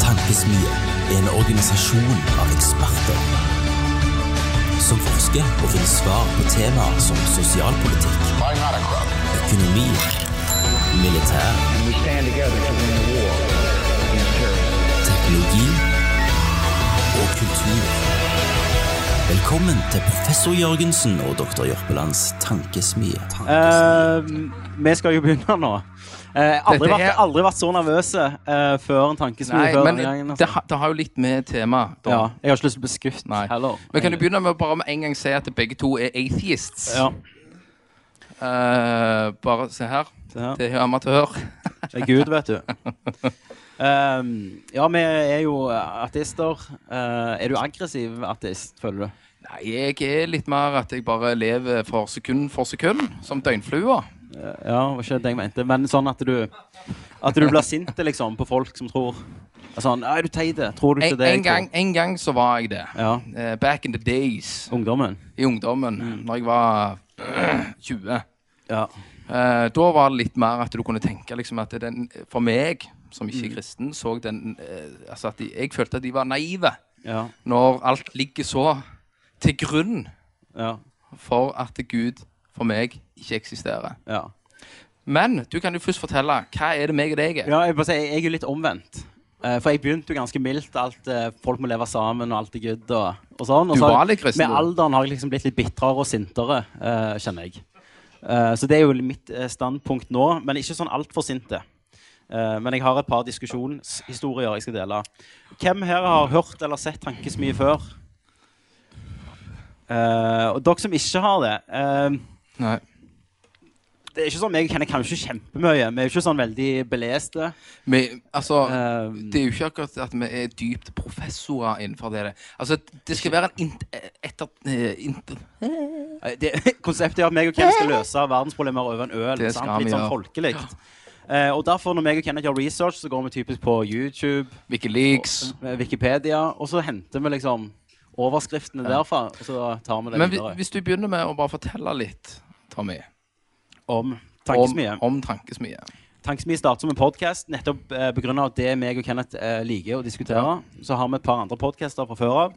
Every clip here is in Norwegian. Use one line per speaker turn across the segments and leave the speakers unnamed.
Tankesmie er en organisasjon av eksperter som forsker og finner svar på temaer som sosialpolitikk, økonomi, militær,
We stand together to win the war against terrorism.
teknologi og kultur. Velkommen til professor Jørgensen og doktor Jørpelands tankesmie.
Eh, vi skal jo begynne nå. Eh, aldri,
Dette
vært,
her-
aldri vært så nervøse eh, før en tankesmie.
Nei,
før
men
denne gangen, altså.
det, ha- det har jo litt med tema. da.
ja, jeg har ikke lyst til å bli skutt
Nei.
heller.
Men kan du begynne med å bare med en gang si at begge to er atheists?
Ja,
Eh, bare se her.
se her.
Det er jo amatør.
Det er Gud, vet du. Ehm, ja, vi er jo ateister. Eh, er du aggressiv ateist, føler du?
Nei, jeg er litt mer at jeg bare lever for sekund for sekund, som døgnflua.
Ja, var ikke det jeg mente. Men sånn at du At du blir sint liksom, på folk som tror Sånn Nei, du teite. Tror du ikke
En,
det? jeg
en, gang, en gang så var jeg det.
Ja.
Eh, back in the days.
tror? Ungdommen?
I ungdommen,
Mm.
når jeg var 20.
Ja.
Eh, da var det litt mer at du kunne tenke liksom, at den, For meg, som
Mm.
ikke er kristen, så den eh, altså at de, Jeg følte at de var naive
Ja.
når alt ligger så til grunn
Ja.
for at Gud for meg ikke eksisterer.
ja.
Men du kan jo først fortelle hva er det meg og deg er.
Ja, jeg, vil bare si, jeg er jo litt omvendt. Eh, for jeg begynte jo ganske mildt. Alt, eh, folk må leve sammen, og alt er good. Og, og sånn. Og
Du
så har
var
jeg-
litt kristen,
med
du.
alderen har jeg liksom blitt litt bitrere og sintere, eh, kjenner jeg. Eh, så det er jo mitt eh, standpunkt nå, men ikke sånn altfor sinte. Eh, men jeg har et par diskusjonshistorier jeg skal dele. Hvem her har hørt eller sett Tankes mye før? Eh, og dere som ikke har det eh,
Nei.
Det er ikke sånn, Jeg kjenner kanskje kjempemye. Vi er jo ikke sånn veldig beleste.
Vi, altså,
Eh,
det er jo ikke akkurat at vi er dypt professorer innenfor det. Altså, det skal være en int, etter, eh, int,
Eh, Det, konseptet er at meg og Kenneth skal løse verdensproblemer over en øl.
Det
sant?
skal
Litt
vi
sånn
gjøre.
folkelig. Eh, og derfor, når meg og Kenneth gjør research, så går vi typisk på YouTube,
Wikileaks.
eh, Wikipedia, og så henter vi liksom overskriftene derfra, og så tar vi det
Men vi,
videre.
hvis du begynner med å bare fortelle litt, Tommy,
Om
om,
tankesmie.
om tankesmie.
Tankesmie starter som en podkast nettopp eh, pga. det meg og Kenneth eh, liker å diskutere. Så har vi et par andre podkaster fra før av.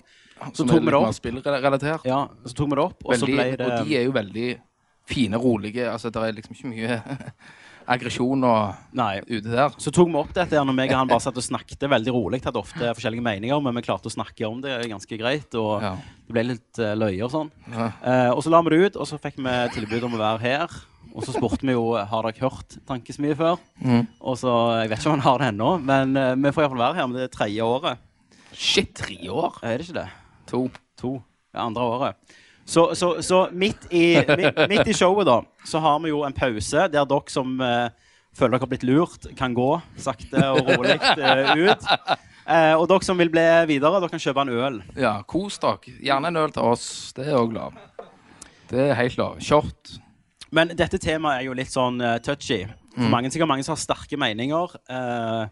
Så
som
tok
er
vi
litt
det opp.
mer spillrelatert.
Ja, så tok vi det opp, og så
veldig,
ble det
Og de er jo veldig fine, rolige. Altså, det er liksom ikke mye aggresjon og
Nei.
ute der.
Så tok vi opp dette her når meg og han bare satt og snakket veldig rolig. Hadde ofte forskjellige meninger, men vi klarte å snakke om det ganske greit. Og
Ja.
det ble litt eh, løye og sånn.
Ja.
Eh, og så la vi det ut, og så fikk vi tilbud om å være her. Og så spurte vi jo eh, har dere hørt Tankesmie før.
Mm.
Og så, eh, Jeg vet ikke om han har det ennå, men eh, vi får iallfall være her. Men det er tredje året.
Shit, tre år?
Er det ikke det?
To.
To. Det andre året. Så, så, så midt, i, midt, midt i showet, da, så har vi jo en pause der dere som eh, føler dere har blitt lurt, kan gå sakte og rolig eh, ut. Eh, og dere som vil bli videre, dere kan kjøpe en øl.
Ja, kos dere. Gjerne en øl til oss. Det er òg lov. Det er helt lov. Short.
Men dette temaet er jo litt sånn eh, touchy. For
Mm.
mange, sikkert mange som har sterke meninger eh,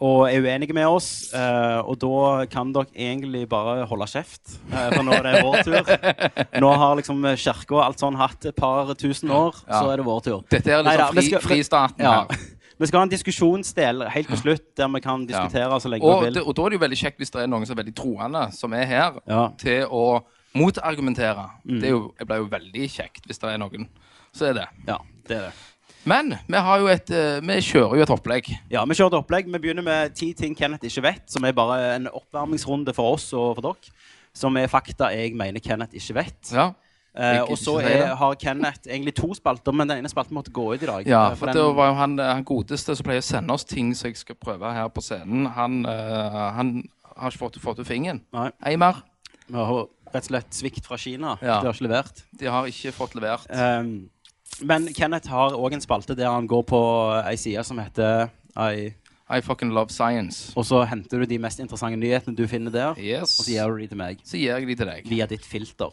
og er uenige med oss. eh, og da kan dere egentlig bare holde kjeft, eh, for nå er det vår tur. Nå har liksom eh, kirka og alt sånn hatt et par tusen år,
Ja.
så er det vår tur.
Dette er liksom
Neida, vi
fri-
skal-
fristaten
ja.
her.
Vi skal ha en diskusjonsdel helt til slutt, der vi kan
Ja.
diskutere så lenge
og,
vi
det,
vil.
og da er det jo veldig kjekt hvis det er noen som er veldig troende, som er her,
Ja.
til å motargumentere. Det er jo, det blir jo veldig kjekt hvis det er noen. Så er det.
Ja, det er det.
Men vi, har jo et, eh, vi kjører jo et opplegg.
Ja, Vi kjører et opplegg. Vi begynner med ti ting Kenneth ikke vet, som er bare en oppvarmingsrunde for oss og for dere. Som er fakta jeg mener Kenneth ikke vet.
Ja,
Eh,
jeg
og så
ikke si
er,
det.
har Kenneth egentlig to spalter, men den ene spalten måtte gå ut i dag.
ja
Eh,
for
den,
det var jo han, eh, han godeste som pleier å sende oss ting som jeg skal prøve her på scenen. Han, eh, han har ikke fått, fått ut fingeren.
Nei.
Ei mer.
Vi har rett og slett svikt fra Kina.
Ja.
Det har ikke levert.
De har ikke fått levert.
Ehm, men Kenneth har òg en spalte der han går på ei side som heter ei,
I fucking love science.
Og så henter du de mest interessante nyhetene du finner der,
Yes.
og så gir du de til meg.
Så gir jeg de til deg
Via ditt filter.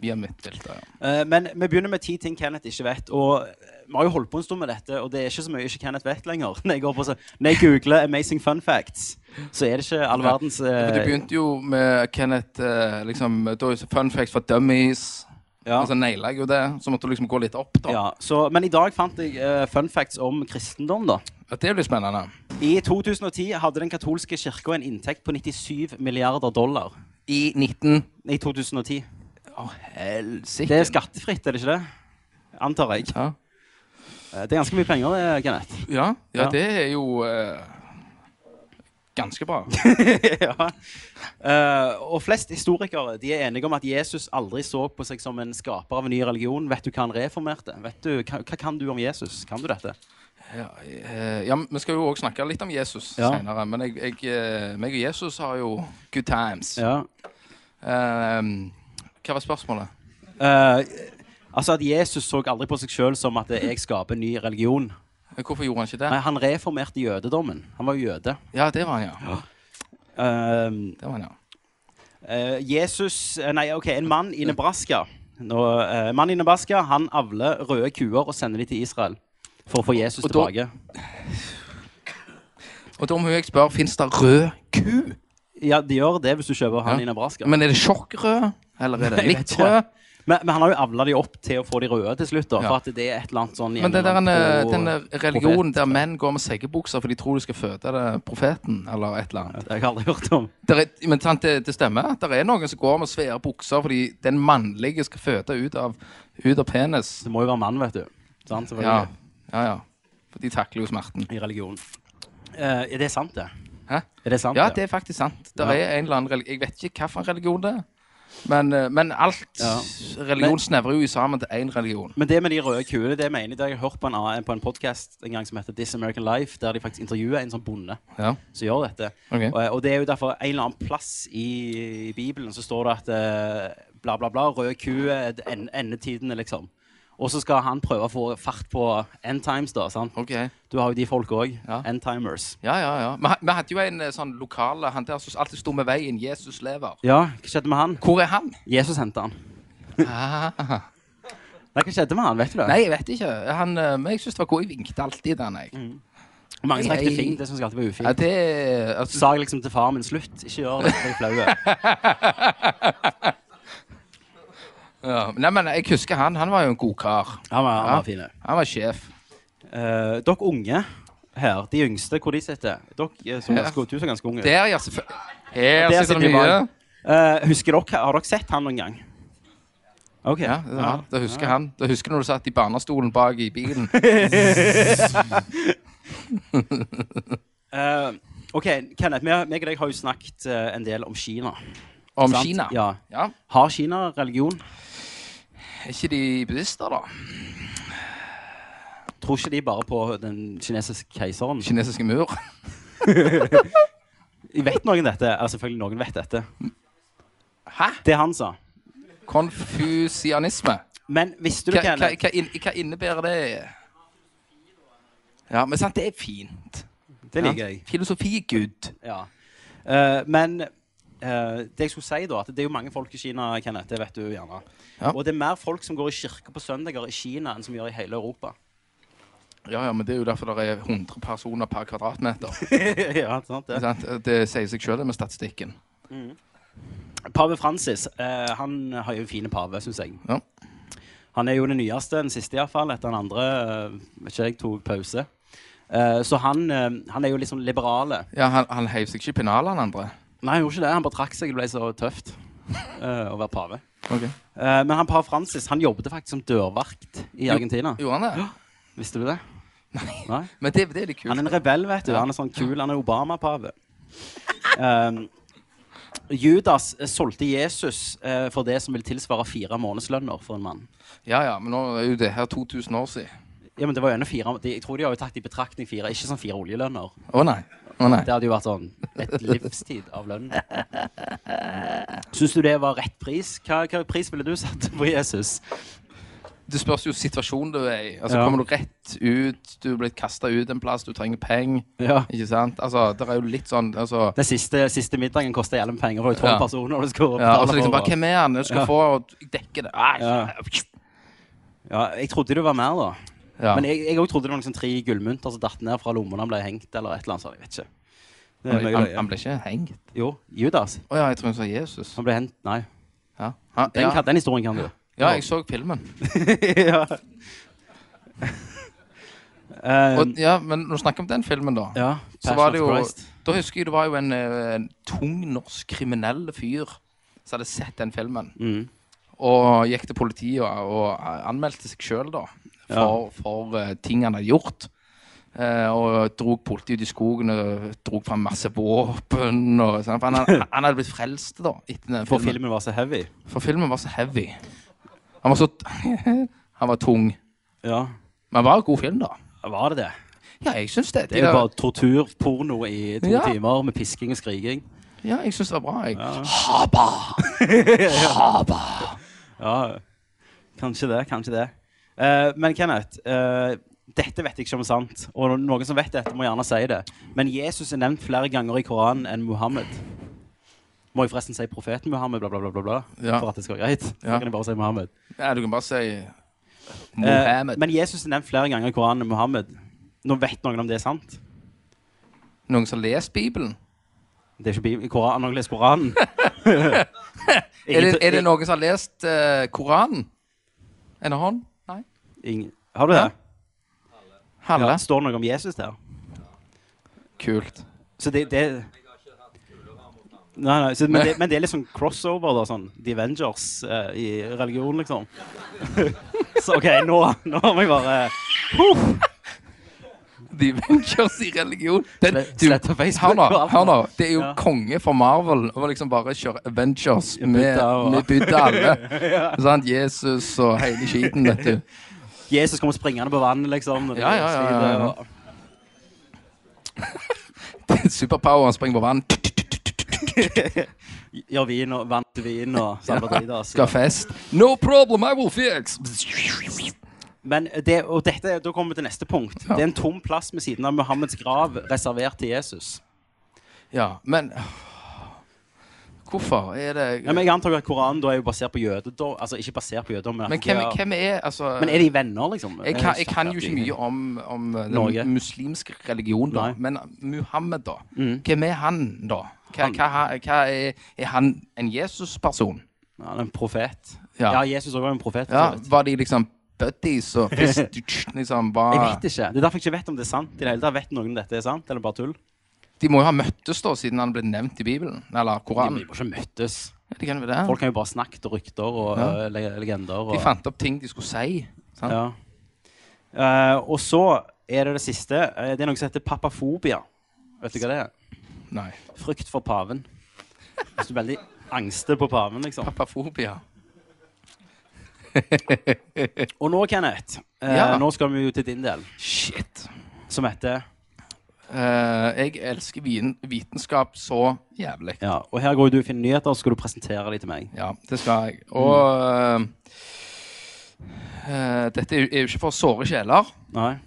via mitt filter. Ja.
Eh, Men vi begynner med ti ting Kenneth ikke vet. Og vi har jo holdt på en stund med dette, og det er ikke så mye ikke Kenneth vet lenger. Når jeg, går på, så, når jeg googler 'Amazing fun facts', så er det ikke all verdens
For Du
eh,
begynte jo med Kenneth eh, liksom, da er jo så Fun facts for dummies.
ja,
Og så naila jeg jo det. Så måtte du liksom gå litt opp, da.
ja, så, Men i dag fant jeg eh, fun facts om kristendom, da.
At det blir spennende.
I 2010 hadde den katolske kirka en inntekt på 97 milliarder dollar.
I 19...
I 2010.
Å, helsike.
Det er skattefritt, er det ikke det? Antar jeg.
Ja.
Eh, Det er ganske mye penger, det, Kenneth.
Ja, ja,
Ja.
det er jo eh, ganske bra.
ja. Eh, og flest historikere de er enige om at Jesus aldri så på seg som en skaper av en ny religion. Vet du hva han reformerte? Vet du, hva, hva kan du om Jesus? Kan du dette?
Ja, eh, ja, men Vi skal jo òg snakke litt om Jesus
Ja.
senere, men jeg, jeg, eh, meg og Jesus har jo good times.
Ja.
Eh, hva var spørsmålet?
Eh, altså at Jesus så aldri på seg sjøl som at jeg skaper en ny religion.
Eh, Hvorfor gjorde han ikke det?
Nei, han reformerte jødedommen. Han var jo jøde.
Ja, det var han, ja.
Eh,
Det var han, ja.
Eh, Jesus eh, Nei, OK. En mann i Nebraska. Nå, eh, en mann i Nebraska han avler røde kuer og sender de til Israel for å få Jesus
Og da-
tilbake.
Og da må jeg spørre, fins det rød ku?
Ja, de gjør det hvis du kjøper han
Ja.
i Nebraska. Men,
Men er det sjokkrød? Eller er det
Jeg vet
litt
ikke.
rød?
men, han har jo avla de opp til å få de røde til slutt, da.
Ja.
For at det er et eller annet sånn
Men det der, en, eh,
gjennom-
den der religionen der menn går med seggebukser for de tror de skal føde det profeten, eller et eller annet.
Jeg har aldri hørt om.
Der er, men sant, det, det stemmer at det er noen som går med svære bukser fordi den mannlige skal føde ut av, ut av penis.
Det må jo være mann, vet du. Sant,
Ja,
selvfølgelig.
ja. ja. For de takler jo smerten.
I religion. Eh, er det sant, det?
Hæ?
Er det sant,
Ja, det er faktisk sant. Der
Ja.
er en eller annen relig- Jeg vet ikke hvilken religion det er. Men, eh, men alt
Ja.
religion snevrer jo sammen til én religion.
Men det med de røde kuene, det mener jeg det har jeg hørt på en, annen- på en podkast en gang som heter This American Life, der de faktisk intervjuer en sånn bonde.
Ja.
som gjør dette.
Ok.
Og, eh, og det er jo derfor en eller annen plass i, i Bibelen så står det at eh, bla, bla, bla, rød ku er det en- endetidene, liksom. Og så skal han prøve å få fart på end times, da. sant?
Ok. Ja,
Du har jo de folka òg.
Ja.
End timers.
ja, ja. Vi ha- Vi hadde jo en eh, sånn lokal Han der som alltid sto med veien. Jesus lever.
Ja, hva skjedde med han?
Hvor er han?
Jesus henta han.
Ah.
Nei, hva skjedde med han, vet du det?
Nei, jeg vet ikke. Han, eh, men jeg syns det var god. Jeg vinket alltid til han, jeg.
Mm. Mange strekte
Nei.
fing, det syns jeg alltid var
Ja,
ufint.
det altså,
Sa jeg liksom til faren min slutt, ikke gjør det, jeg er flau.
ja. Nei, men jeg husker han. Han var jo en god kar.
Han var, han
Ja.
var fin. ja.
Han var sjef.
Eh, dere unge her, de yngste, hvor de sitter Dere eh, så
Ja.
ganske, du så ganske unge ut.
Der, ja, selvfølgelig. Her
Der
sitter
sitter
det mye.
Ivan. Eh, husker dere, Har dere sett han noen gang? OK.
Ja, det, ja. Da husker han. Da husker når du satt i barnestolen bak i bilen.
Eh, OK, Kenneth, vi- meg og deg har jo snakket eh, en del om Kina.
Om
sant?
Kina.
Ja.
Ja.
Har Kina religion?
Er ikke de buddhister, da?
Tror ikke de bare på den kinesiske keiseren?
Kinesiske mur.
Vet noen dette? Ja, selvfølgelig noen vet dette.
Hæ?
Det han sa.
Konfusianisme.
Men visste du,
Hva, hva,
Kenneth
hva, inn- hva innebærer det? Ja, men sant, det er fint.
Det liker
Ja.
jeg.
Filosofi, Gud.
Ja. Eh, men eh, det jeg skulle si, da, at det er jo mange folk i Kina, Kenneth. Det vet du gjerne.
Ja.
Og det er mer folk som går i kirke på søndager i Kina enn som gjør i hele Europa.
Ja, ja, men det er jo derfor det er 100 personer per kvadratmeter.
ja, sant det.
sant? Det sier seg sjøl med statistikken.
Pave Francis eh, han har jo en fin pave, syns jeg.
Ja.
Han er jo den nyeste, den siste iallfall. Etter den andre eh, vet ikke jeg, tok pause. Eh, så han, eh, han er jo liksom liberale.
Ja, Han, han heiv seg ikke i pennalet, han andre.
Nei, han gjorde ikke det. Han bare trakk seg. Det ble så tøft eh, å være pave.
Ok.
Eh, men han pave Francis han jobbet faktisk som dørvakt i Argentina.
Gjorde han det?
Visste du det? Nei.
Men det, det er litt kult.
Han er en rebell, vet du. Han er sånn kul. Han er Obama-pave. Um, Judas eh, solgte Jesus eh, for det som vil tilsvare fire månedslønner for en mann.
Ja, ja, men nå er jo det her 2000 år siden.
Ja, men det var jo ennå fire de, Jeg tror de har jo tatt i betraktning fire, ikke sånn fire oljelønner.
Å nei. Å nei.
Det hadde jo vært sånn et livstid av lønn. Syns du det var rett pris? Hva, hva pris ville du satt på Jesus?
Det spørs jo situasjonen du er i. Altså,
Ja.
Kommer du rett ut, du er blitt kasta ut en plass, du trenger penger.
Ja.
Ikke sant? Altså, det er jo litt sånn altså,
Den siste, siste middagen koster jævlig med penger. Det var jo tolv
Ja.
personer du skulle
ja, altså
betale
liksom
for.
bare, Hvem er han? Jeg skal
Ja.
få og Jeg dekker det. Nei.
Ja. Ja, jeg trodde det var mer, da.
Ja.
Men jeg òg trodde det var liksom tre gullmynter som datt ned fra lommene og ble hengt. eller et eller annet sånt, jeg vet ikke. Det er
han,
mye
han,
løye.
han ble ikke hengt.
Jo, Judas.
Å ja, jeg tror hun sa Jesus.
Han ble hengt Nei.
Ja. Han,
Den,
ja.
kan, den historien kan du.
ja, jeg så filmen.
ja. Um,
Og, ja, men når du snakker om den filmen, da
ja.
så var det jo,
Passion of Christ.
Da husker jeg det var jo en, eh, en tung norsk kriminell fyr som hadde sett den filmen.
Mm.
Og gikk til politiet og, og anmeldte seg sjøl, da, for, for eh, ting han hadde gjort. Eh, og dro politiet ut i skogen og dro fram masse våpen. Og, sånn, for han, han, han hadde blitt frelst da etter den
For
filmen.
filmen var så heavy.
For filmen var så heavy. Han var så Han var tung.
Ja,
Men det var en god film, da.
var det det?
Ja, jeg syns det.
Det er jo bare torturporno i to
Ja.
timer med pisking og skriking.
Ja, jeg synes det var bra. Jeg.
Ja.
Haba! Haba!
Ja, kanskje det, kanskje det. Eh, men Kenneth, eh, dette vet jeg ikke om er sant, og noen som vet dette må gjerne si det, men Jesus er nevnt flere ganger i Koranen enn Muhammed. Må jeg forresten si profeten Muhammed, bla bla bla, bla, bla
Ja.
for at det skal være greit?
Ja.
Så kan jeg bare si Muhammed.
Ja, du kan bare si
Eh,
Mohammed.
men Jesus er nevnt flere ganger i Koranen enn Muhammed. Nå vet noen om det er sant.
Noen som har lest Bibelen?
Det er ikke Bibelen. Koranen, noen leser Koranen.
Er det, er det noen som har lest eh, Koranen? En hånd? Nei.
Ingen- Har du det?
Halve?
Ja, står det noe om Jesus der?
Kult.
Så det, det Nei, nei, så, men, det, men det er litt sånn crossover, da, sånn The Avengers eh, i religion, liksom. så OK, nå, nå må jeg bare
The Avengers i religion. Den,
Slett-
du,
slett på
hør
Facebook
nå,
og alt.
hør nå. Det er jo
Ja.
konge for Marvel å liksom bare kjøre Avengers med,
Buddha og-
med Buddha alle. Sant? Jesus og hele skiten, vet du.
Jesus kommer springende på vannet, liksom. når det
Ja, ja, ja, ja, ja.
sliter, og-
Superpower, han springer på vann,
Gjør vin og vann til vin og salvadridas.
skal ha fest. No problem, I will fix!
Men det, og dette, da kommer vi til neste punkt. Det er en tom plass ved siden av Muhammeds grav reservert til Jesus.
Ja, men Hvorfor er det
Ja, men jeg antar jo at Koranen da er jo basert på jødedom. Altså ikke basert på jødedom, men,
Men
at de
hvem,
har-
hvem er altså
men er de venner, liksom?
jeg kan, jeg kan jo ikke mye om, om øh, den
Norge.
muslimske religion, da.
Nei. Mm.
men Muhammed, da. Hvem er han, da? Hva,
Han-
hva, hva er, er han en Jesus-person?
Ja, Han er en profet.
Ja.
Ja, Jesus også var en profet. for
Ja,
så vidt.
var de liksom buddies og fist, tsk, liksom,
Jeg
var,
vet ikke. Det er derfor jeg ikke vet om det er sant. i det hele tatt. Vet noen om dette er sant, eller bare tull?
De må jo ha møttes, da, siden han ble nevnt i Bibelen?
De
Eller
må
Koranen?
jo ikke møttes.
De, kan jo det.
Folk har jo bare snakket og rykter og øh, le legender. Og,
de fant opp ting de skulle si. Sant?
ja. Eh, og så er det det siste. Eh, Det er noe som heter papafobia. Vet du hva det er?
Nei.
Frykt for paven. Hvis du er veldig angster på paven, liksom.
Papafobia.
Og nå, Kenneth, eh,
Ja.
nå skal vi jo til din del,
Shit.
som heter
Eh, jeg elsker vin, vitenskap så jævlig.
Ja, og her går jo du og finner nyheter, og så skal du presentere dem til meg.
Ja, det skal jeg. Og eh, dette er jo- er jo ikke for å såre sjeler.
Nei?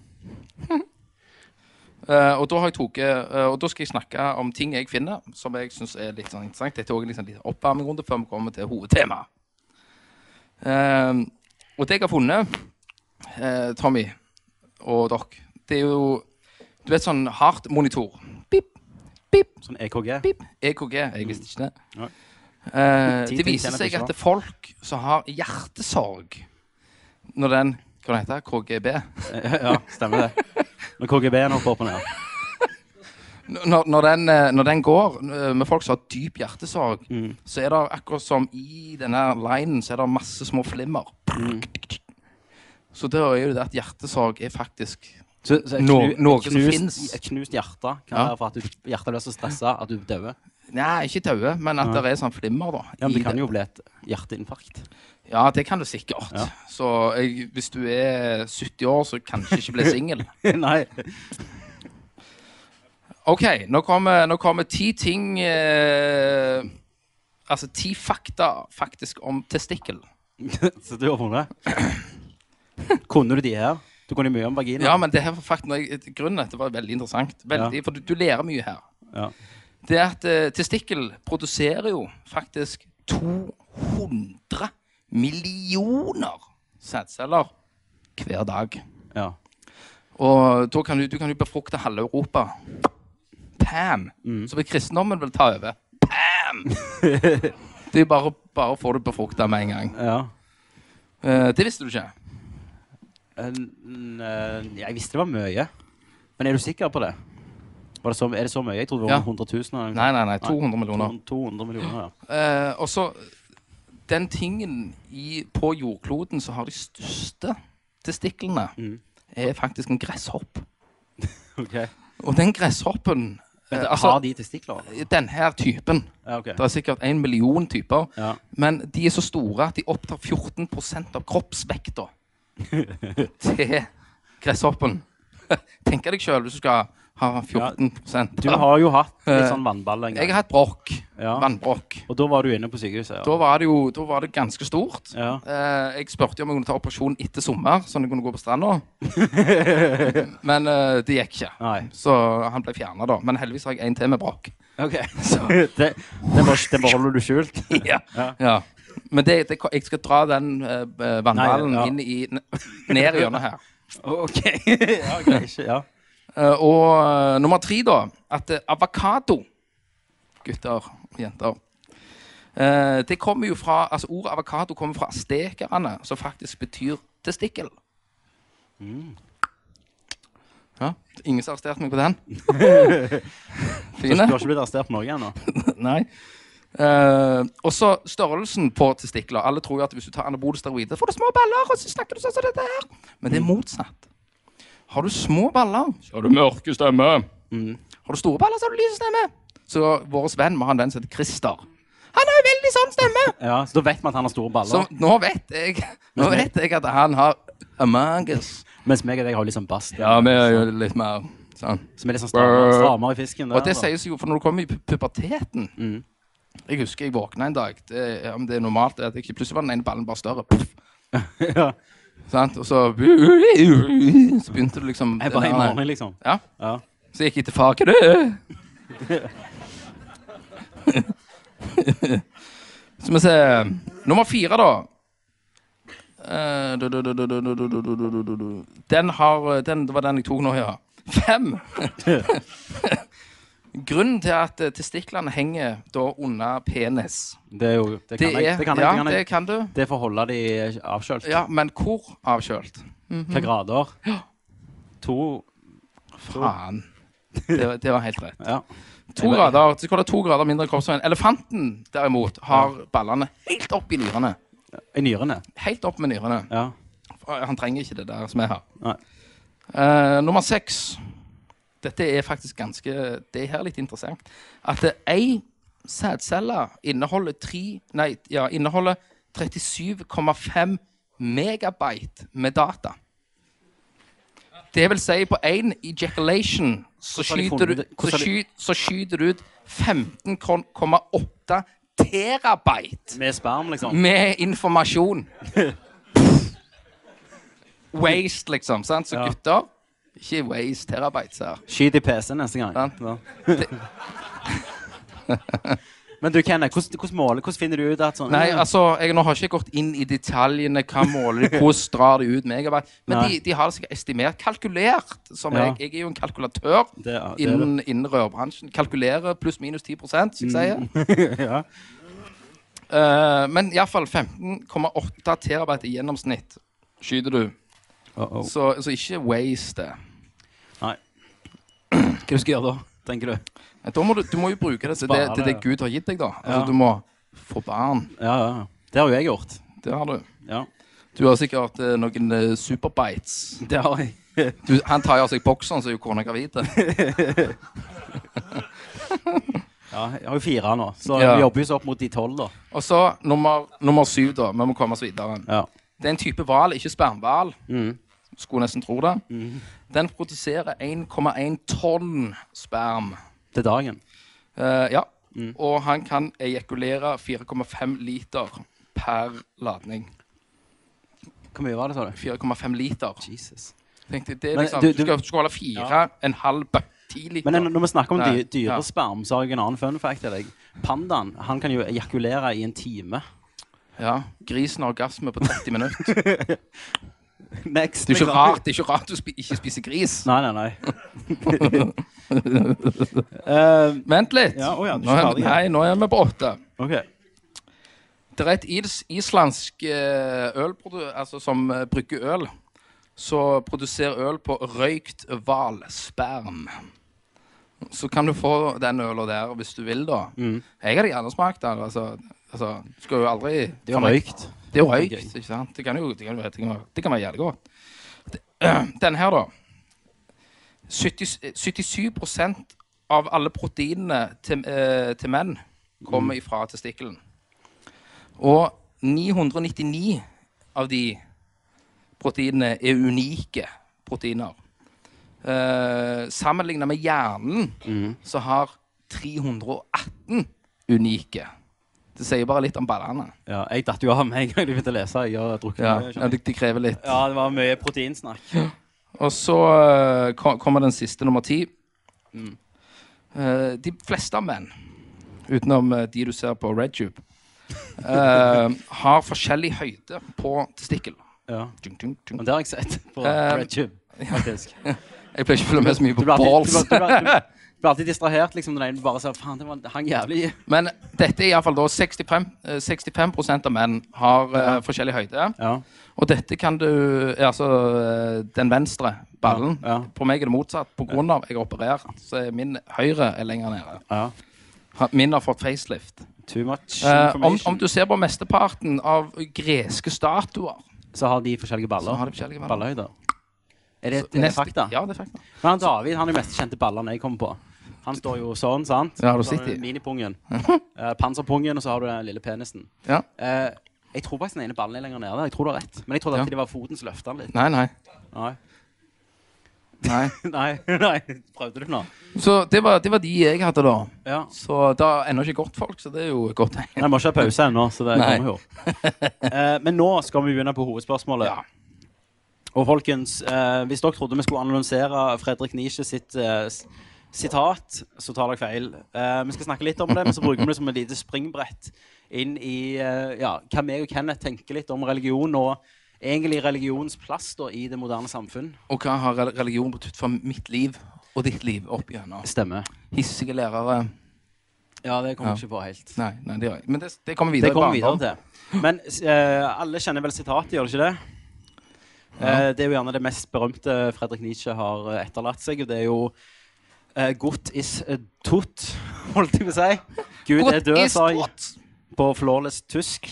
Eh, og da har jeg tatt, eh, og da skal jeg snakke om ting jeg finner som jeg syns er litt sånn interessant. Dette er også en liksom, liten oppvarmingrunde før vi kommer til hovedtemaet. Eh, og det jeg har funnet, eh, Tommy og dere, det er jo Du vet sånn hardt-monitor. Pip, pip,
Sånn EKG.
pip. EKG. E Jeg visste ikke det.
Nei.
Eh,
Ti
det
ting
viser
tjener
seg
på
at det er folk som har hjertesorg Når den Hva heter det? KGB?
Eh, Ja, stemmer det. Når KGB-en hopper opp og ned.
Når, når, den, eh, når den går eh, med folk som har dyp hjertesorg,
Mm.
så er det akkurat som i denne linen så er det masse små flimmer.
Mm.
Så da er jo det at hjertesorg er faktisk
Så, så et
Nå-
knu-
noe
et
som
knust,
finnes.
Et knust hjerte kan
Ja.
være for at du, hjertet blir så stressa at du dauer.
Nei, ikke daue, men at det er sånn flimmer, da.
Ja, men
i
det kan jo bli et hjerteinfarkt.
Ja, det kan du sikkert.
Ja.
Så jeg, hvis du er 70 år, så kanskje ikke bli singel.
Nei.
OK, nå kommer, nå kommer ti ting eh, Altså ti fakta faktisk om testikkel.
så du har funnet Kunne du de her? Du kunne mye om vagina.
Ja, men det her var fakt, når jeg, grunnen til at det var veldig interessant. Veldig, For du, du lærer mye her.
Ja.
Det er at eh, testikkel produserer jo faktisk 200 millioner sædceller hver dag.
ja.
Og da kan du, du kan jo befrukte halve Europa. Pam!
Mm.
Så vil kristendommen vil ta over. Pam! det er bare, bare å få det befrukta med en gang.
ja.
Eh, det visste du ikke.
En- en- eh, Jeg visste det var mye. Men er du sikker på det? Var det så, er det så mye? Jeg trodde det
Ja.
var 100 000. Eller noe.
Nei, nei, nei. 200 millioner.
200 200 millioner, ja.
Eh, og så Den tingen i, på jordkloden som har de største testiklene,
Mm.
er faktisk en gresshopp.
Ok.
Og den gresshoppen eh,
Har
Altså,
de testikler?
denne typen.
Ja, ok.
Det er sikkert en million typer.
Ja.
Men de er så store at de opptar 14 av kroppsvekta til gresshoppen. Tenk deg sjøl hvis du skal ha 14
Du har jo hatt litt
Eh,
sånn vannball en
Jeg
gang.
har hatt brokk.
Ja.
Vannbrokk.
Og da var du inne på sykehuset? Ja.
Da var det jo da var det ganske stort.
Ja.
Eh, jeg spurte om jeg kunne ta operasjon etter sommer, sånn at jeg kunne gå på stranda. Men eh, det gikk ikke.
Nei.
Så han ble fjerna, da. Men heldigvis har jeg en til med brokk.
Ok.
Så,
det, det, var, det beholder du skjult?
ja. Ja. Men det, det, jeg skal dra den eh, vannballen
Nei, ja.
inn i, ned i hjørnet her.
OK. ja, ok, ikke, ja.
Eh, og eh, nummer tre, da. At eh, avokado Gutter og jenter. eh, det kommer jo fra, altså Ordet avokado kommer fra astekerne, som faktisk betyr testikkel.
Mm.
Ja, ingen som arresterte meg på den?
Så
Fine?
du har ikke blitt arrestert på Norge ennå?
Nei. Eh, og så størrelsen på testikler. Alle tror jo at hvis du tar anabole steroider, får du små baller. og så snakker du sånn som dette her. Men det er motsatt. Har du små baller, Mm. så har du mørke stemme. Har du store baller, så har du lyse stemme. Så vår venn må ha en venn som heter Christer. Han har jo veldig sånn stemme!
Ja, så da vet vi at han har store
Så
baller.
nå vet jeg, nå vet jeg at han har Amagus.
Mens meg og deg har litt sånn bass.
Ja, vi er jo litt mer sånn.
Som er litt sånn stramere, stramere i fisken. altså.
Og det
da. Mm.
sies jo, for når du kommer i pu- puberteten Jeg husker jeg våkna en dag det, Om det er normalt at jeg ikke plutselig var den ene ballen bare større. Puff,
ja.
sant? Og så Så begynte du liksom
Jeg bare
den
i
der-
morgen, liksom.
Ja.
Ja.
Så jeg gikk jeg til far. Hva er det? Så må vi se Nummer fire, da. Eh, du, du, du, du, du, du, du, du, du, du, du, du. Den har eh, den, Det var den jeg tok nå, ja. Fem. Grunnen til at eh, testiklene henger da under penis
Det er jo Det kan jeg. Det kan jeg.
ja,
Det, kan
det
jeg.
kan du.
det er for å holde de avkjølt.
Ja, men hvor avkjølt?
Hvilke grader? To
Faen. Det, var- det var helt rett.
Ja.
To grader, så skal det to grader mindre kroppsvekt. Elefanten, derimot, har ballene helt opp i nyrene.
I nyrene.
Helt opp med nyrene.
Ja.
Han trenger ikke det der som er her.
Nei.
Eh, nummer seks. Dette er faktisk ganske Det er her litt interessant. At eh, ei sædcelle inneholder tre Nei, ja, inneholder 37,5 megabyte med data. Det vil si, på én ejaculation så
Hvordan har de
skyter du,
funnet det?
så
Hvordan har de-
skyter, så skyter du ut 15,8 terabyte
Med sperm, liksom.
med informasjon. Waste, liksom. sant? Så
Ja.
gutter Ikke waste terabytes her.
Skyt i PC neste gang.
Sant.
Ja. Men du, Kenneth, hvordan, hvordan, måler, hvordan finner du ut at sånn
Nei, altså, jeg nå har ikke gått inn i detaljene. Hva måler de? Hvordan drar de ut megabyte? Men
Nei.
de, de har det sikkert estimert. Kalkulert. Som
Ja.
jeg, jeg er jo en kalkulatør
Det er- det er
innen, innen rørbransjen. Kalkulerer pluss-minus 10 som jeg sier.
Mm. ja.
Eh, men iallfall 15,8 terabyte i gjennomsnitt skyter du.
Uh-oh.
Så, så ikke waste det.
Nei. Hva du skal gjøre da, tenker du?
Da må du, du må jo bruke det til det,
Spare,
til det
ja.
Gud har gitt deg, da. Altså,
Ja.
Du må få barn.
Ja, ja. ja. Det har jo jeg gjort.
Det har du.
Ja,
Du har sikkert eh, noen eh, superbites.
det har jeg.
Du, han tar jo av seg bokseren, så er jo kona gravid.
Ja, jeg har jo fire nå, så
Ja.
vi jobber jo så opp mot de tolv, da.
Og så nummer, nummer syv, da. Vi må komme oss videre.
Ja. Mm.
Det er en type hval, ikke spermhval. Skulle nesten tro det. Den produserer 1,1 tonn sperm.
Til dagen.
Eh, ja.
Mm.
Og han kan ejakulere 4,5 liter per ladning.
Hvor mye var det, sa du?
4,5 liter.
Jesus.
tenkte, det er
Men
liksom,
du-
du,
du-
skal, du skal holde fire, en halv bøtte, ti liter.
Men når vi snakker om dy
Nei, ja.
dyresperm, så har jeg en annen fun fact til deg. Pandaen han kan jo ejakulere i en time.
ja, grisen har orgasme på 30 minutter. Det
Next. liksom.
er ikke rart, det er ikke rart du spi ikke spiser gris.
Nei, nei, nei. Eh,
Vent litt.
Ja, å ja, du er
nå, er,
ikke ferdig, ja.
nei, nå er vi på åtte.
OK.
Det er et is islandsk eh, ølprodu altså, som eh, brygger øl. Så produserer øl på røykt hvalsperm. så kan du få den øla der hvis du vil, da. Jeg hadde gjerne smakt den. Altså, altså, du skal jo aldri
Det er jo røykt.
Det er jo røykt, ikke sant? Det kan jo det kan, være- det kan, være- det kan være jævlig godt. Det- Den her, da. 70, eh, 77 av alle proteinene til, eh, til menn kommer ifra testikkelen. Og 999 av de proteinene er unike proteiner. Eh, Sammenlignet med hjernen så har 318 unike. Det sier bare litt om ballene.
Ja, jeg datt jo av med en gang du begynte å lese. Jeg har drukket
Ja,
mye.
ja
skjønner jeg.
det, det krever litt.
Ja, det var mye proteinsnakk.
Og så eh, ko- kommer den siste, nummer ti.
Mm.
Eh, de fleste av menn, utenom eh, de du ser på RedTube, eh, har forskjellig høyde på testikkel.
Ja.
Tjung, tjung, tjung.
Men det har jeg sett på
Eh,
RedTube. faktisk.
Jeg pleier ikke å følge med så mye
Du
på
blir alltid,
balls.
du blir, du blir, du, blir alltid distrahert liksom, når en bare ser faen, det var, hang jævlig i.
Men dette er iallfall da 65, eh, 65 av menn har eh, forskjellig høyde.
Ja.
Og dette kan du eh, Altså eh, den venstre ballen.
Ja, ja.
På meg er det motsatt. På grunn av jeg er operert, så er min høyre er lenger nede.
ja.
Ha- Min har fått facelift.
Too much
Eh, om,
information.
om du ser på mesteparten av greske statuer
Så har de forskjellige
så
baller.
har de forskjellige baller.
Ballehøyder. Er det et er det
Neste-
fakta?
Ja, det er fakta.
Men han David han er den mest kjente ballene jeg kommer på. Han står jo sånn, sant?
Ja, du
Så har
sitter i.
Minipungen. eh, panserpungen, og så har du den lille penisen.
Ja.
Eh, jeg tror faktisk den ene ballen er lenger nede. Jeg tror det er rett. Men jeg trodde
Ja.
alltid det var foten som løfta den litt.
Nei, nei.
Nei.
nei.
nei, nei. Prøvde du nå?
Så det var, det var de jeg hadde, da.
Ja.
Så det har ennå ikke gått folk, så det er jo et godt tegn.
Nei, må ikke ha pause ennå, så det
Nei.
kommer jo. Eh, men nå skal vi begynne på hovedspørsmålet.
Ja.
Og folkens, eh, hvis dere trodde vi skulle analysere Fredrik Nietzsche sitt eh, s- sitat, så tar dere feil. Eh, vi skal snakke litt om det, men så bruker vi det som et lite springbrett inn i eh, ja, hva vi og Kenneth tenker litt om religion, og egentlig religionens plass da, i det moderne samfunn.
Og hva har rel- religion betydd for mitt liv og ditt liv opp gjennom?
Stemmer.
Hissige lærere
Ja, det kommer
Ja.
jeg ikke på helt.
Nei, nei det gjør jeg. Men det, det kommer videre.
Det kommer
i
vi
barndom.
videre til. Men eh, alle kjenner vel sitatet, gjør de ikke det? Eh, det er jo gjerne det mest berømte Fredrik Nietzsche har eh, etterlatt seg, og det er jo eh, Godt is eh, tot, holdt jeg på å si. Gud
Godt
er død,
is
sa jeg
godt.
på flawless tysk.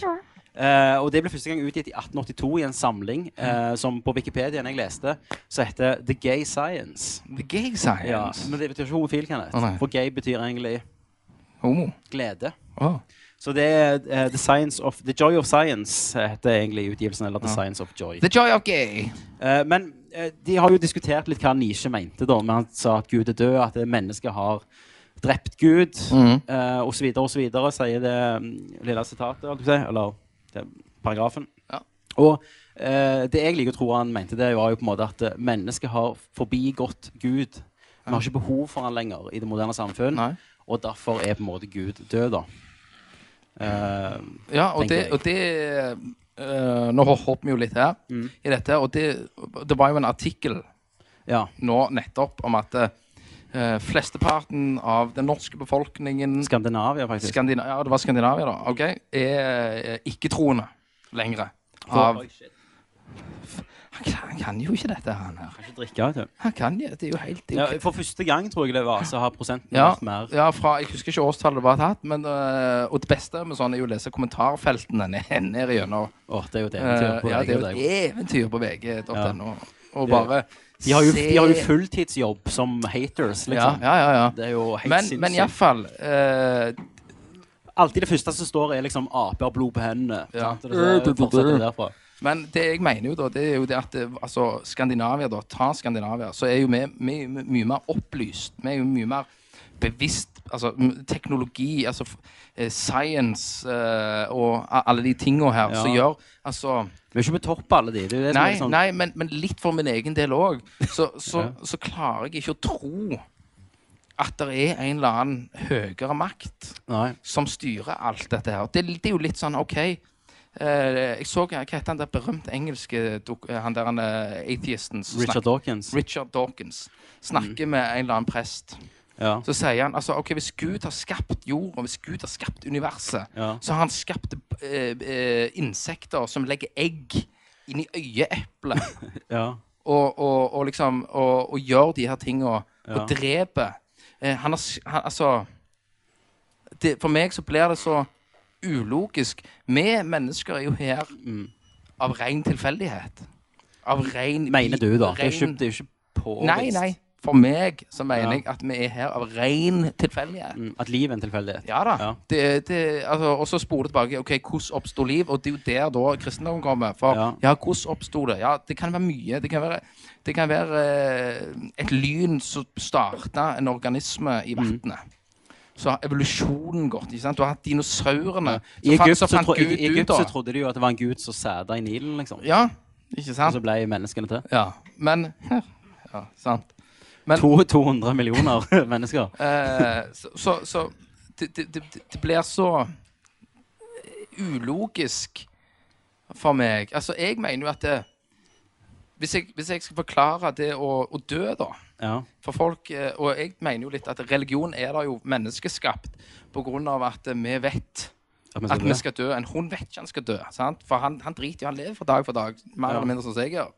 Eh, og det ble første gang utgitt i 1882 i en samling eh, som på Wikipediaen jeg leste, så heter The Gay Science.
The gay
Ja,
science.
men det betyr ikke homofil, Kenneth.
Å, nei.
For gay betyr egentlig
Homo.
glede.
Å.
Så det er eh, the, Science of, the Joy of Science eh, heter egentlig utgivelsen, eller The Science of Joy.
The joy of gay.
Eh, men eh, de har jo diskutert litt hva Nietzsche mente, da, men han sa at Gud er død, at det mennesket har drept Gud,
Mm.
eh, og så videre og så videre, sier det mm, lille sitatet, holdt jeg på å si, eller det, paragrafen.
Ja.
Og eh, det jeg liker å tro han mente, det var jo på en måte at eh, mennesket har forbigått Gud. Vi har ikke behov for han lenger i det moderne samfunn,
Nei.
og derfor er på en måte Gud død, da. Eh,
Ja, og
tenker
det,
jeg.
og det eh, Nå hopper vi jo litt her
Mm.
i dette. Og det, det var jo en artikkel
ja.
nå nettopp om at eh, flesteparten av den norske befolkningen
Skandinavia, faktisk.
Skandina ja, det var Skandinavia, da. ok, Er eh, ikke-troende lenger. Av,
Oi, shit.
han, kan, han kan jo ikke dette, han her.
Kan ikke drikke, vet du.
Han kan jo, Det er jo helt det er jo
Ja, for første gang, tror jeg det var, så har prosenten
Ja,
vært mer.
ja fra, jeg husker ikke årstallet det var tatt, men, eh, og det beste med sånn er jo å lese kommentarfeltene ned, ned igjennom.
Åh, det er jo et
Eh,
eventyr. på
ja, det er
deg
jo
og
et
deg.
eventyr på vg.no. Og
Det-
bare
De har jo,
se-
de har jo fulltidsjobb som haters,
ja,
liksom.
ja, ja, ja.
Det er jo helt
Men,
sinnssykt.
men iallfall eh,
Alltid det første som står, er liksom aper har blod på hendene.
Ja.
sant? Og det fortsetter det derfra.
Men det jeg mener jo da, det er jo det at det, altså, Skandinavia, da, ta Skandinavia, så er jo vi, vi er jo mye mer opplyst. Vi er jo mye mer bevisst. Altså m- teknologi, altså f- eh, science eh, og a- alle de tinga her som
Ja.
gjør Altså
Vi er ikke på topp, på alle de. Det er jo det som
Nei,
er sånn,
nei men, men litt for min egen del òg. Så, så, så klarer jeg ikke å tro at det er en eller annen høyere makt
nei.
som styrer alt dette her. Det, det er jo litt sånn OK eh, Jeg så Hva heter han der berømte engelske dok- eh, Han der han, eh, atheisten som
Richard
snakker-
Dawkins. Mm.
Richard Dawkins snakker med en eller annen prest.
Ja.
Så sier han altså, ok, hvis Gud har skapt jord, og hvis Gud har skapt universet,
Ja.
så har han skapt eh, eh, insekter som legger egg inn i øyeeplet
ja.
og, og, og liksom og, og gjør de her tinga og
Ja.
dreper. eh, han har s- han, Altså det, For meg så blir det så ulogisk. Vi mennesker er jo her
Mm.
av ren tilfeldighet. Av ren
Mener du, da? Det er jo
ren-
ikke, det er jo ikke påvist
Nei, nei. For meg så
Ja.
mener jeg at vi er her av ren tilfeldighet.
Mm, at livet er en tilfeldighet.
Ja da.
Ja.
Det, det, altså, og så spoler det tilbake. ok, Hvordan oppsto liv? Og det er jo der da kristendommen kommer. For
Ja.
ja, hvordan oppsto det? Ja, Det kan være mye. Det kan være, det kan være eh, et lyn som starta en organisme
Mhm.
i vannet. Så har evolusjonen gått. ikke sant? Du har hatt dinosaurene.
I
Så fant-
Egypt, så,
så fant
tro, i,
Gud
i Egypt
ut,
så
da.
trodde de jo at det var en gud som sæda i Nilen, liksom.
Ja, ikke
Og
sant?
så ble menneskene til.
Ja, Men Ja, sant. Men-
To, 200 millioner mennesker.
Eh, så så, så det, det, det, det blir så ulogisk for meg. Altså, jeg mener jo at det, hvis, jeg, hvis jeg skal forklare det å, å dø, da
Ja.
for folk, eh, Og jeg mener jo litt at religion er da jo menneskeskapt på grunn av at eh, vi vet
At vi
at
skal
vi
dø.
skal dø. En hund vet ikke han skal dø. sant? For han, han driter jo, han lever fra dag for dag. Mer
Ja.
eller mindre sånn som jeg gjør.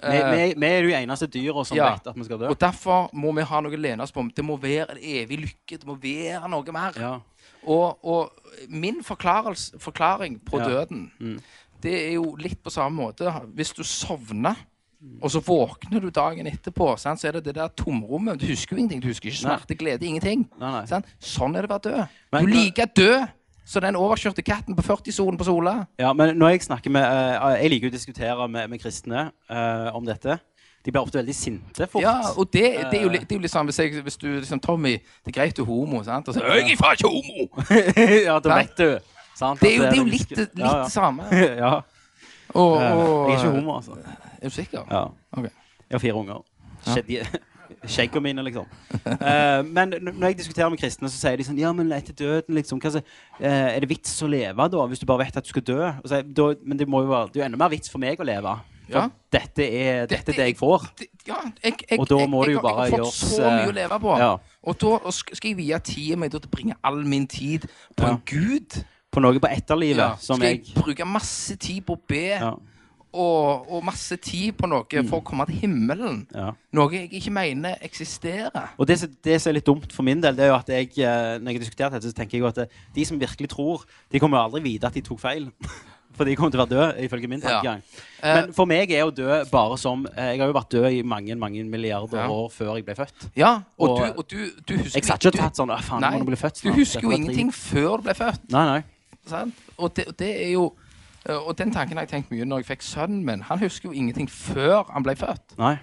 Vi, vi, vi er jo de eneste dyra som
eh, Ja.
vet at vi skal dø.
Og derfor må vi ha noe å lene oss på. Det må være en evig lykke. Det må være noe mer.
Ja.
Og, og min forklarelse- forklaring på
Ja. Mm.
døden, det er jo litt på samme måte. Hvis du sovner, og så våkner du dagen etterpå, sant? så er det det der tomrommet. Du husker jo ingenting. Du husker ikke
Nei.
smerte, glede, ingenting.
Nei, nei.
Sant? Sånn er det å være død.
Men-
du er like død som den overkjørte katten på 40-sonen på Sola.
Ja, men når Jeg snakker med, eh, jeg liker jo å diskutere med, med kristne eh, om dette. De blir ofte veldig sinte fort.
Ja, og det, det, er jo, litt- det er jo litt sånn hvis, jeg, hvis du liksom Tommy, det er greit du er homo, sant? Og så Jeg er faen ikke homo!
ja, da
Nei.
vet du. Sant?
Det er jo,
At
det er jo litt, litt sånn- det
ja, ja.
samme.
ja.
Og,
Eh,
og,
Jeg er ikke homo, altså.
Er du sikker?
Ja.
Ok.
Jeg har fire unger. Skjedde- Skjeggene mine, liksom. Eh, men n- når jeg diskuterer med kristne, så sier de sånn Ja, men etter døden, liksom hva, så, eh, Er det vits å leve, da, hvis du bare vet at du skal dø? Og så, er jeg, da men det, må jo være, det er jo enda mer vits for meg å leve. For
Ja.
dette, er, dette
Dette
er det jeg
er-
får.
det- Ja, jeg, jeg,
Og da
jeg,
må
jeg,
det jo
har-
bare
jeg har fått
gjøres,
så mye
eh,
å leve på.
ja.
Og da og sk- skal jeg vie tida mi til å bringe all min tid på en gud.
På noe på etterlivet
Ja.
som
Skal jeg
jeg
bruke masse tid på å be,
ja, Mm.
og, og masse tid på noe for å komme til himmelen?
ja.
Noe jeg ikke mener eksisterer.
Og det, som- det som er litt dumt for min del, det er jo at jeg eh, når jeg har diskutert dette, så tenker jeg jo at eh, de som virkelig tror, de kommer jo aldri vite at de tok feil. For de kommer til å være døde, ifølge min
Ja.
tankegang.
Eh,
Men for meg er jo død bare som eh, Jeg har jo vært død i mange mange milliarder
Ja.
år før jeg ble født.
Ja, og,
Og-
du, og du, du husker
Jeg satt ikke og
du-
tatt sånn «Å, faen,
Nei,
jeg må bli født
du
snart.
husker
Dette
jo
var
ingenting før du ble født.
Nei, nei.
Sant? Og, det, og det er jo Og den tanken har jeg tenkt mye når jeg fikk sønnen min. Han husker jo ingenting før han ble født.
nei.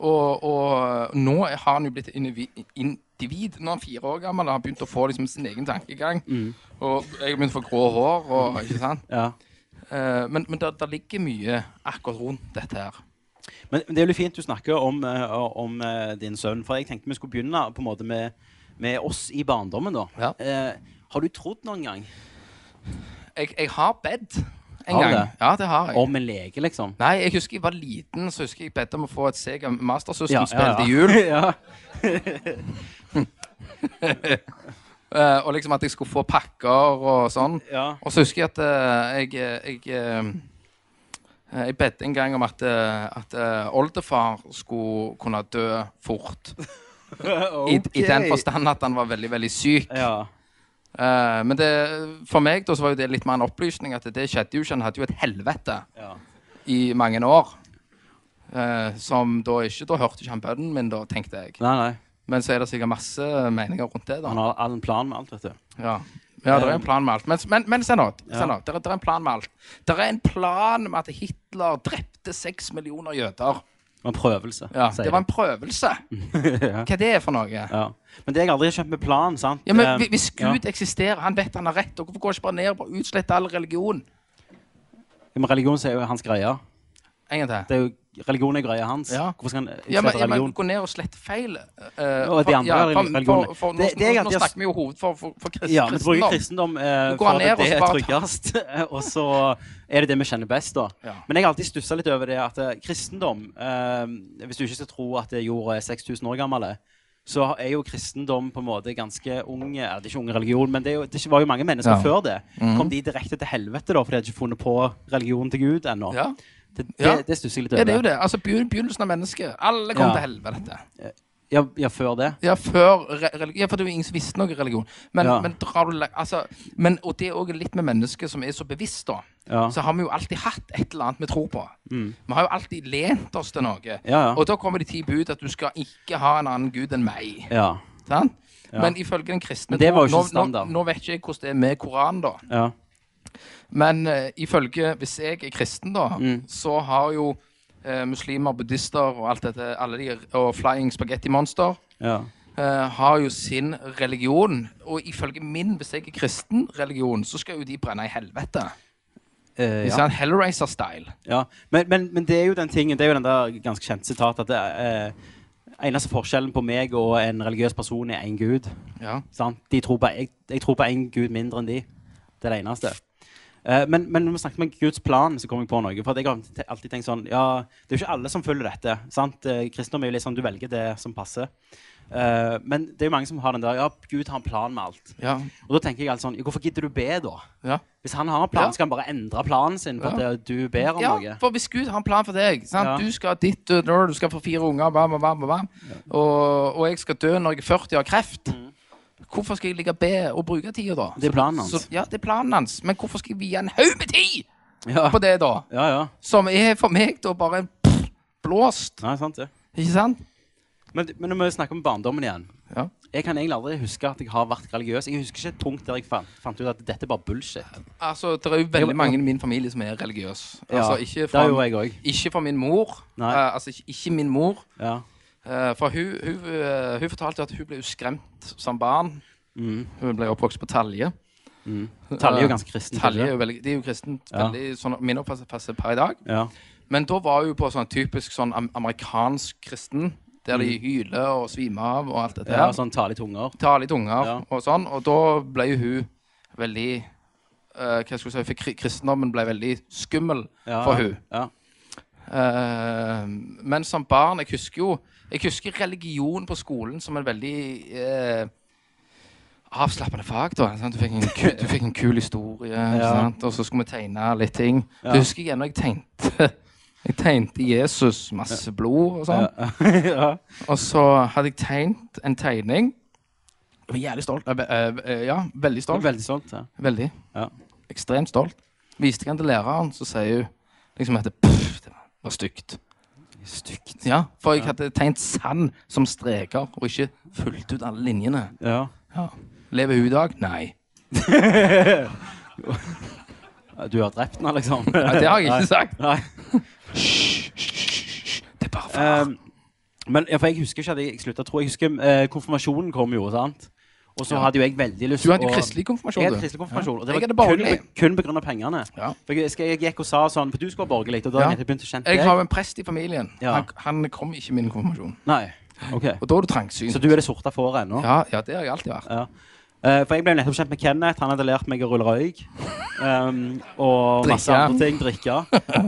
Og, og nå er- har han jo blitt indivi- individ. Nå er han fire år gammel og har begynt å få liksom sin egen tankegang.
Mm.
Og jeg har begynt å få grå hår. Og, ikke sant?
Ja.
Eh, men men det ligger mye akkurat rundt dette her.
Men det er jo litt fint du snakker om, eh, om eh, din sønn, for jeg tenkte vi skulle begynne på en måte med, med oss i barndommen, da.
Ja.
Eh, har du trodd noen gang
Jeg, jeg har bedt en
Har du
gang.
det?
Ja, det har jeg.
om en lege, liksom?
Nei, jeg husker jeg var liten, så husker jeg bedt om å få et Sega Master System-spill til jul.
ja.
Eh, og liksom at jeg skulle få pakker og sånn.
Ja.
Og så husker jeg at eh, jeg eh, Jeg, eh, jeg bedte en gang om at, eh, at eh, oldefar skulle kunne dø fort. I, I den forstand at han var veldig, veldig syk.
Ja.
Eh, men det, for meg da, så var jo det litt mer en opplysning at det skjedde jo ikke. Han hadde jo et helvete
ja.
i mange år. Eh, som da ikke Da hørte ikke han bønnen min, da, tenkte jeg.
Nei, nei.
Men så er det sikkert masse meninger rundt det. da.
Han har all en plan med alt, vet du.
Ja. ja, det er
Ehm.
en plan med alt. Men, men, men se nå. se nå. Det, er, det er en plan med alt. Det er en plan med at Hitler drepte seks millioner jøder.
Det var en prøvelse.
Ja,
sier
det var en prøvelse. Hva det er for noe?
Ja. Men det har jeg aldri skjønt med plan, sant?
Ja, men
Eh,
hvi- Hvis
ja.
Gud eksisterer, han vet han har rett, og hvorfor går han ikke bare ned og bare utsletter all religion?
Ja, Men religion så er jo hans greie.
En gang til.
Det er jo, religion er greia hans.
Ja.
Hvorfor skal han utslette
Ja, men, ja, men
religion?
gå ned og slette feil. eh,
Og de andre
ja,
religionene.
for, for, nå,
Det- det er
nå,
at
nå
jeg-
snakker vi jo hoved for, for, for krist,
ja, men så bruker
kristendom.
kristendom eh,
Nå går
for
han ned,
at
og
det
så
er
bare
tryggest. og så er det det vi kjenner best, da.
Ja.
Men jeg har alltid stussa litt over det at eh, kristendom eh, Hvis du ikke skal tro at jorda er 6000 år gammel, så er jo kristendom på en måte ganske ung eh, Det er ikke ung religion, men det, er jo, det var jo mange mennesker
Ja. Mhm.
før det. Kom de direkte til helvete da, for de hadde ikke funnet på religionen til Gud ennå?
Ja.
Det, det,
Ja.
det stusser jeg litt
ja,
over.
det er jo det. Altså, begy- Begynnelsen av mennesket. Alle kom
Ja.
til helvete.
Ja, ja, før det.
Ja, før re- religion. Ja, for det er jo ingen som visste noe religion. Men,
Ja.
men drar du la- altså, men, Og det er òg litt med mennesker som er så bevisst, da.
Ja. Mm.
Så har vi jo alltid hatt et eller annet vi tror på. Vi har jo alltid lent oss til noe.
ja.
Og da kommer de ti bud at du skal ikke ha en annen gud enn meg.
Ja.
Sant? Men ifølge den kristne
Men det
tro-
var jo ikke
nå, nå,
standard.
nå vet ikke jeg hvordan det er med Koranen, da.
ja.
Men eh, ifølge Hvis jeg er kristen, da,
Mm.
så har jo eh, muslimer, buddhister og alt dette, alle de, og Flying Spaghetti Monster
ja.
eh, har jo sin religion. Og ifølge min, hvis jeg er kristen religion, så skal jo de brenne i helvete.
Eh,
Hvis
ja.
det er en Hellraiser-style.
Ja, men, men, men det er jo den tingen, det er jo den der ganske kjente sitatet at det er, eh, eneste forskjellen på meg og en religiøs person er én gud.
Ja.
Sant? De tror på, jeg, jeg tror på én gud mindre enn de. Det er det eneste. Eh, men, men når vi snakket om Guds plan, så kom jeg på noe. For at jeg har te- alltid tenkt sånn, ja, Det er jo ikke alle som følger dette. sant? Eh, Kristendom er jo litt sånn, du velger det som passer. Eh, men det er jo mange som har den der ja, Gud har en plan med alt.
Ja.
Og da tenker jeg alltid sånn, ja, Hvorfor gidder du be, da?
Ja.
Hvis han har en plan,
Ja.
skal han bare endre planen sin for
Ja.
at du ber om
ja,
noe.
for hvis Gud har en plan for deg sant?
Ja.
Du skal ha ditt død når du skal få fire unger, bam, bam, bam, bam, bam. Og, og jeg skal dø når jeg er 40 og har kreft. Hvorfor skal jeg ligge og be og bruke tida da?
Mm. Det er planen hans.
Så, ja, det er planen hans. Men hvorfor skal jeg vie en haug med tid
Ja.
på det, da?
Ja, ja.
Som er for meg da bare pff, blåst.
Nei, sant det.
Ikke sant?
Men, men når vi snakker om barndommen igjen
Ja.
Jeg kan egentlig aldri huske at jeg har vært religiøs. Jeg husker ikke et punkt der jeg fant, fant ut at dette er bare bullshit.
Altså, det er jo
Ja,
veldig
ja.
mange i min familie som er religiøse.
Ja,
Altså, ikke
det
fra,
er jo jeg òg.
ikke fra min mor.
Nei.
Eh, altså, ikke, ikke min mor.
Ja.
Eh, for hun, hun, eh, hun fortalte at hun ble jo skremt som barn.
Mm.
Hun ble oppvokst på Talje.
Talje er jo ganske kristen.
Talje er
kanskje?
jo veldig, de er jo kristent.
Ja.
Veldig, sånn, min oppfattelse per i dag.
Ja.
Men da var hun på sånn typisk sånn am amerikansk kristen, der de hyler og svimer av og alt dette
Mm. ja,
her.
sånn tale i tunger.
Tar litt unger
Ja.
og sånn. Og da ble jo hun veldig eh, Hva skal jeg si For kri- kristendommen ble veldig skummel
Ja,
for hun.
Ja.
Eh, men som barn Jeg husker jo Jeg husker religion på skolen som en veldig eh, avslappende fag. da sant? Du, fikk en ku, du fikk en kul historie, sant? og så skulle vi tegne litt ting.
Ja.
Du husker igjen når jeg tegnte Jeg tegnte Jesus, masse blod og sånn.
ja.
Og så hadde jeg tegnet en tegning. Jeg var jævlig stolt. Eh, eh, eh, Ja, veldig
Jeg er
stolt.
Veldig stolt. Ja.
Veldig.
Ja.
Ekstremt stolt. Viste jeg den til læreren, så sier hun liksom at det- pff, det var stygt. Stygt? Ja, for jeg hadde tegnet sand som streker, og ikke fulgt ut alle linjene.
Ja.
Ja. Lever hun i dag? Nei.
Du har drept henne, liksom?
Nei, Det har jeg ikke sagt.
Nei.
Hysj, hysj, hysj. Det er bare far.
Um, men ja, for jeg husker ikke at jeg slutta å tro. Jeg husker eh, konfirmasjonen kom jo, sant? Og så
Ja.
hadde jo jeg veldig lyst
Du hadde jo
å-
kristelig konfirmasjon,
Jeg
du.
hadde kristelig konfirmasjon.
Ja.
Og det
Jeg
var
hadde
kun,
borgerlig.
på- kun pga. pengene.
Ja.
For jeg, husker jeg gikk og sa sånn For du skal være borgerlig, og da
Ja.
hadde jeg begynt å kjenne
Jeg
deg.
har jo en prest i familien.
Ja.
Han, han kom ikke i min konfirmasjon.
Nei. ok.
Og da er du trangsynt.
Så du er det sorte fåret ennå?
Ja, ja, det har jeg alltid vært.
Ja. Eh, for jeg ble jo nettopp kjent med Kenneth. Han hadde lært meg å rulle røyk. Um, og masse
Drikke.
andre ting. Drikke.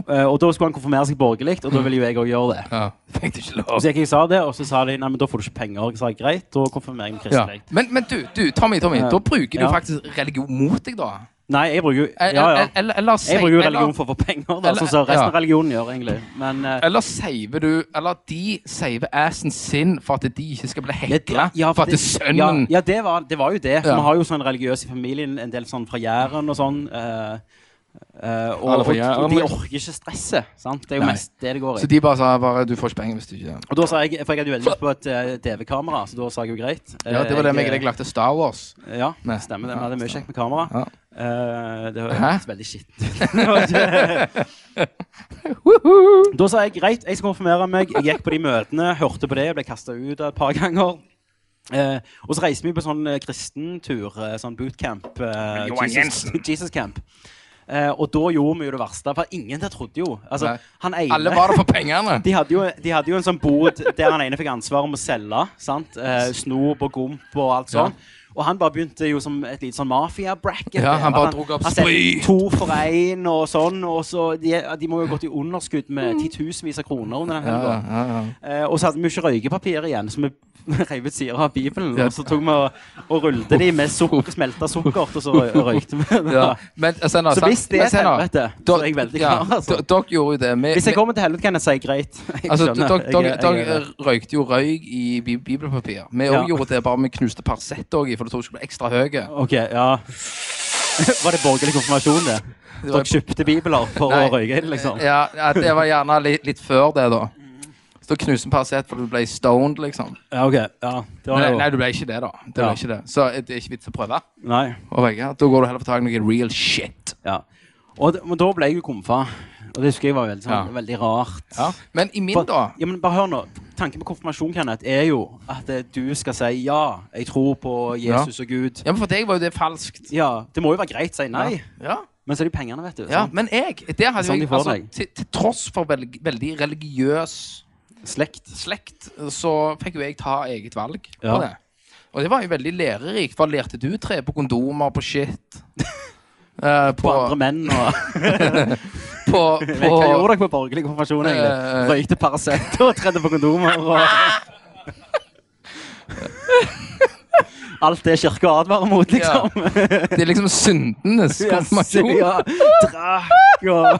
Eh, og da skulle han konfirmere seg borgerlig, og da ville jo jeg òg gjøre det.
Ja. Tenkte ikke lov.
Så jeg, jeg sa det, og så sa de nei, men da får du ikke penger. Og jeg sa greit, da konfirmerer jeg meg
Ja.
kristelig.
Men, men du, du, Tommy, Tommy, da bruker du
ja.
faktisk religion mot deg, da.
Nei, jeg bruker jo
Eller,
Ja, ja.
eller, eller,
Jeg bruker jo
eller-
religion for å få penger, da,
eller-
sånn som resten
ja.
av religionen gjør, egentlig. Men eh,
Eller saver du Eller de saver assen sin for at de ikke skal bli hekla.
ja,
for at
det-
sønnen
Ja, ja det, var, det var jo det.
Ja.
Vi har jo sånn religiøs i familien, en del sånn fra Jæren og sånn. eh, eh,
Alle
og,
fra
og,
Jæren.
og de orker ikke stresset. sant? Det er jo
Nei.
mest det det går
Så
i.
de bare sa bare Du får ikke penger hvis du ikke
Og da sa jeg, For jeg hadde jo veldig lyst på et eh, DV-kamera, så da sa jeg jo greit. Eh,
Ja, det var det meg jeg lagde Star Wars.
Ja,
Nei.
stemmer det. Vi
Ja,
hadde mye kjekt med kamera.
Ja.
Eh, det
Hæ?
høres veldig skittent ut. da sa jeg greit, jeg skal konfirmere meg. Jeg gikk på de møtene, hørte på det, ble kasta ut et par ganger. Eh, og så reiste vi på sånn eh, kristentur, eh, sånn bootcamp. eh,
Johan
Jesus, Jesus Camp. Eh, og da gjorde vi jo det verste, for ingen der trodde jo. Altså,
Nei.
han ene
Alle var der for pengene.
de hadde, jo, de hadde jo en sånn bod der han ene fikk ansvaret om å selge. sant? Eh, snop og gomp og alt sånn. Og han bare begynte jo som et lite sånn mafia-bracket.
Ja, han
der.
bare drog opp
han sendte
sprit.
To for én og sånn. Og så de, de må jo ha gått i underskudd med titusenvis av kroner under den helga.
ja, ja.
Eh, og så hadde vi jo ikke røykepapir igjen, så vi rev ut sider av Bibelen.
Ja.
Og så tok vi og, og rullet de med sukker, smelta sukkert, og så rø- røykte vi. det.
Ja. Men, altså, nå,
Så
sant?
hvis det er
Men,
et
nå,
helvete, så er jeg veldig
ja,
klar. Altså.
d- Dere gjorde jo det. Vi,
Hvis jeg
vi-
kommer til helvete, kan jeg si greit. Jeg
altså,
skjønner.
dere-
Jeg-
dere
jeg-
dere røykte jo røyk i bi- bibelpapir. Vi
Ja.
også gjorde det, bare vi knuste Paracet òg i, for det tror jeg skulle bli ekstra høye.
Ok, ja. Var det borgerlig konfirmasjon, det? Dere kjøpte bibler for
Nei.
å røyke inn, liksom?
Ja, ja, det var gjerne litt, litt før det, da. Så da knuste vi Paracet for du ble stoned, liksom.
Ja, ok. Ja, det var
Nei, nei,
jo
du ble ikke det, da. Det
Ja.
ble ikke det. Så eh, det er ikke vits å prøve.
Nei.
å røyke. Da går du heller for tak i noe real shit.
Ja. Og d- men da ble jeg jo komfa. Og det husker jeg var veldig, sånn,
Ja.
veldig rart.
Men i min,
For-
da
Ja, men bare hør nå. Tanken med konfirmasjon Kenneth, er jo at eh, du skal si ja, jeg tror på Jesus og Gud.
Ja, men For deg var jo det falskt.
Ja, Det må jo være greit å si nei,
Ja.
men så er det jo pengene, vet du.
Ja,
sant?
men jeg det hadde jo
Sånn de
jeg,
får
altså,
deg.
til, til tross for veldig, veldig religiøs
Slekt.
slekt, så fikk jo jeg ta eget valg på
Ja.
det. Og det var jo veldig lærerikt. Hva lærte du? Tre på kondomer, på shit eh, på,
På andre menn og
på,
Men Hva
på
gjorde dere på borgerlig konfirmasjon, egentlig?
Eh,
Røykte Paracet og tredde på kondomer og Alt det kirka advarer mot, liksom.
Det er liksom syndenes
Ja,
konfirmasjon.
ja, Drakk og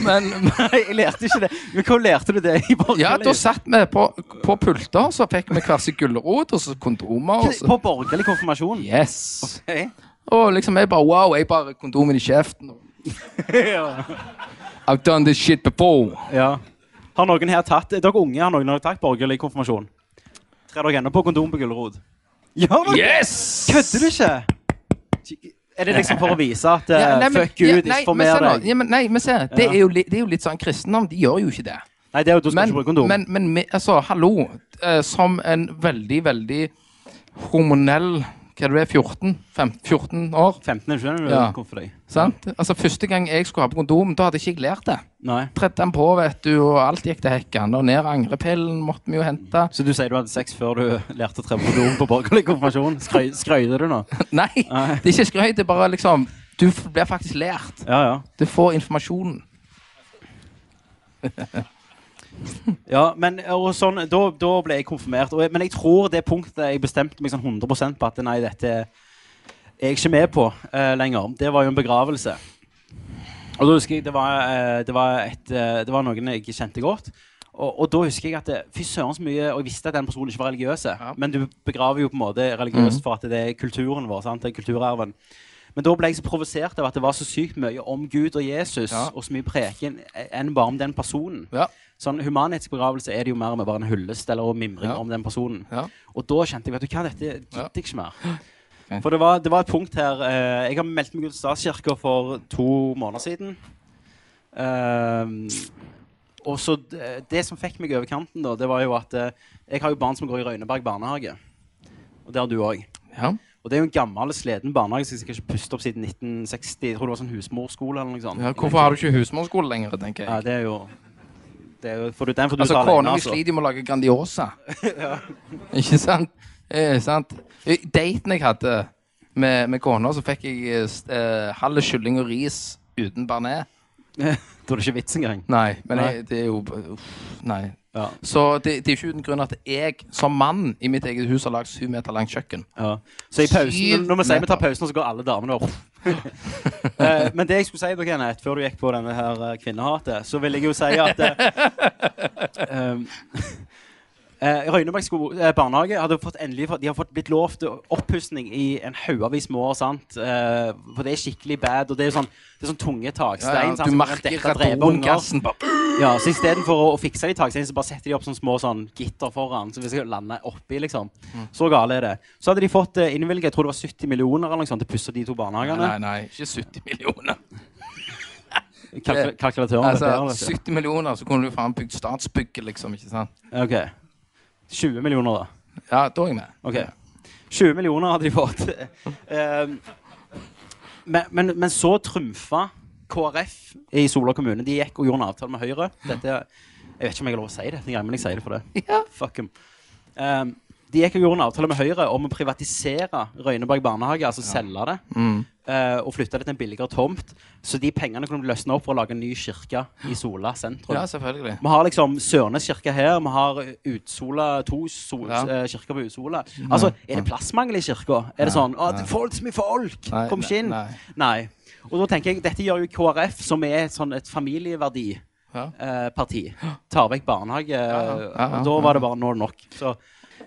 Men
Nei, jeg lærte ikke det. Men hvor lærte du det i borgerlig?
ja, da satt vi på, på pulter, så fikk vi hver sin gulrot og så kondomer. Og så,
På borgerlig konfirmasjon?
yes.
Ok.
Og liksom jeg bare wow, jeg bare kondomen i kjeften. I've done this shit before.
Ja. Har noen her tatt Dere unge har noen her tatt borgerlig konfirmasjon? Trer dere ennå på kondom på gulrot? Gjør dere
Yes!
Kødder du ikke? Er det liksom for å vise at eh,
Ja, nei, men-
fuck Gud,
ja, nei,
ikke for
men se
mer
nå.
deg?
Ja, men, nei, men se, det,
Ja.
er jo litt, det er jo litt sånn kristendom. De gjør jo ikke det.
Nei, det er jo du skal
Men,
ikke bruke kondom.
men, men vi- altså, hallo. eh, som en veldig, veldig hormonell Hva er det, du er, 14? Fem, 14 år?
15 er ikke det du
Ja.
kom for deg.
Sant? Altså, Første gang jeg skulle ha på kondom, da hadde ikke jeg lært det.
Nei.
Tredde den på, vet du, og alt gikk til hekken. Og ned angrepillen måtte vi jo hente.
Så du sier du hadde sex før du lærte å tre på kondom på borgerlig konfirmasjon? Skrøy, skrøyder du nå?
Nei,
Nei.
det er ikke skrøy. Det er bare liksom Du f- blir faktisk lært.
Ja, ja.
Du får informasjonen.
Ja, men og sånn, da, da ble jeg konfirmert. Og, jeg- men jeg tror det punktet jeg bestemte meg sånn 100 på at nei, dette er jeg ikke med på eh, lenger, det var jo en begravelse. Og da husker jeg det var, eh, det var, et, eh, det var noen jeg kjente godt. Og, og da husker jeg at det- fy søren så mye Og jeg visste at den personen ikke var religiøs. Men du begraver jo på en måte religiøst for at det er kulturen vår. sant? Det er kulturarven. Men da ble jeg så provosert av at det var så sykt mye om Gud og Jesus
Ja.
og så mye preken eh, enn bare om den personen.
Ja.
Sånn Humanhetsbegravelse er det jo mer med bare en hyllest eller å mimring
Ja.
om den personen.
Ja.
Og da kjente jeg vet du hva, dette gidder
Ja.
jeg ikke mer. For det var, det var et punkt her eh, Jeg har meldt meg ut av statskirka for to måneder siden. Ehm, og så d- Det som fikk meg over kanten, da, det var jo at eh, jeg har jo barn som går i Røyneberg barnehage. Og det har du òg.
Ja.
Og det er jo en gammel, sliten barnehage som jeg skal ikke puste opp siden 1960. Jeg tror det var sånn husmorskole eller noe sånt.
Ja, hvorfor har du ikke husmorskole lenger, tenker
Ja,
jeg.
det er jo, det er jo for du, Den får du
Altså,
ta alene,
Kona mi
altså.
sliter jo med å lage Grandiosa. Ikke sant? Eh, sant? I Daten jeg hadde med, med kona, så fikk jeg eh, s- eh, halv kylling og ris uten bearnés.
Da er det ikke vits engang.
Nei, men
Nei.
Jeg, det er jo uff, Nei.
Ja.
Så det, det er ikke uten grunn at jeg som mann i mitt eget hus har lagd syv meter langt kjøkken.
Ja. Så i pausen,
Syv
når vi sier vi tar
meter.
pausen, så går alle damene opp. Eh, Men det jeg skulle si, da, Kenneth, før du gikk på denne her eh, kvinnehatet, så vil jeg jo si at eh, um, eh, Røyneberg sko- eh, barnehage hadde fått endelig fått- De har fått blitt lovt oppussing i en haug av i små år. sant? Eh, for det er skikkelig bad, og det er jo sånn, det er sånn tunge
Ja, ja,
takstein. sant,
du
som kan
merker
dette drepe unger.
radongassen bare
Ja, så istedenfor å, å fikse de taksteinene, så bare setter de opp sånne små sånn, gitter foran. Så vi skal lande oppi, liksom.
Mm.
Så gale er det. Så hadde de fått eh, innvilget jeg tror det var 70 millioner eller noe sånt, til å pusse de to barnehagene.
Nei, nei, ikke 70 millioner.
Kalk kalkulatøren
Altså,
altså,
70 millioner, så kunne du faen bygd statsbygget, liksom. ikke sant?
Ok. 20 millioner, da.
Ja, da er jeg med.
Ok. 20 millioner hadde de fått. Ehm, men, men, men så trumfa KrF i Sola kommune. De gikk og gjorde en avtale med Høyre. Dette, jeg vet ikke om jeg har lov å si det, men jeg sier det for det.
Ja.
Fuck 'em. Ehm, de gikk og gjorde en avtale med Høyre om å privatisere Røyneberg barnehage, altså selge det, eh, og flytte det til en billigere tomt. Så de pengene kunne løsne opp for å lage en ny kirke i Sola sentrum.
Ja, selvfølgelig.
Vi har liksom Sørnes kirke her, vi har Utsola, to sol,
Ja. Mm.
eh, kirker på Utsola. Altså, er det plassmangel i kirka? Er det sånn «Å, det er folk som er folk!
Nei,
Kom ikke inn!
nei,
Nei. Og da tenker jeg, dette gjør jo KrF, som er et sånn et familieverdi.
Ja.
eh, parti. Tar vekk barnehage. eh,
ja, ja,
og da var det bare nå er det nok. Så,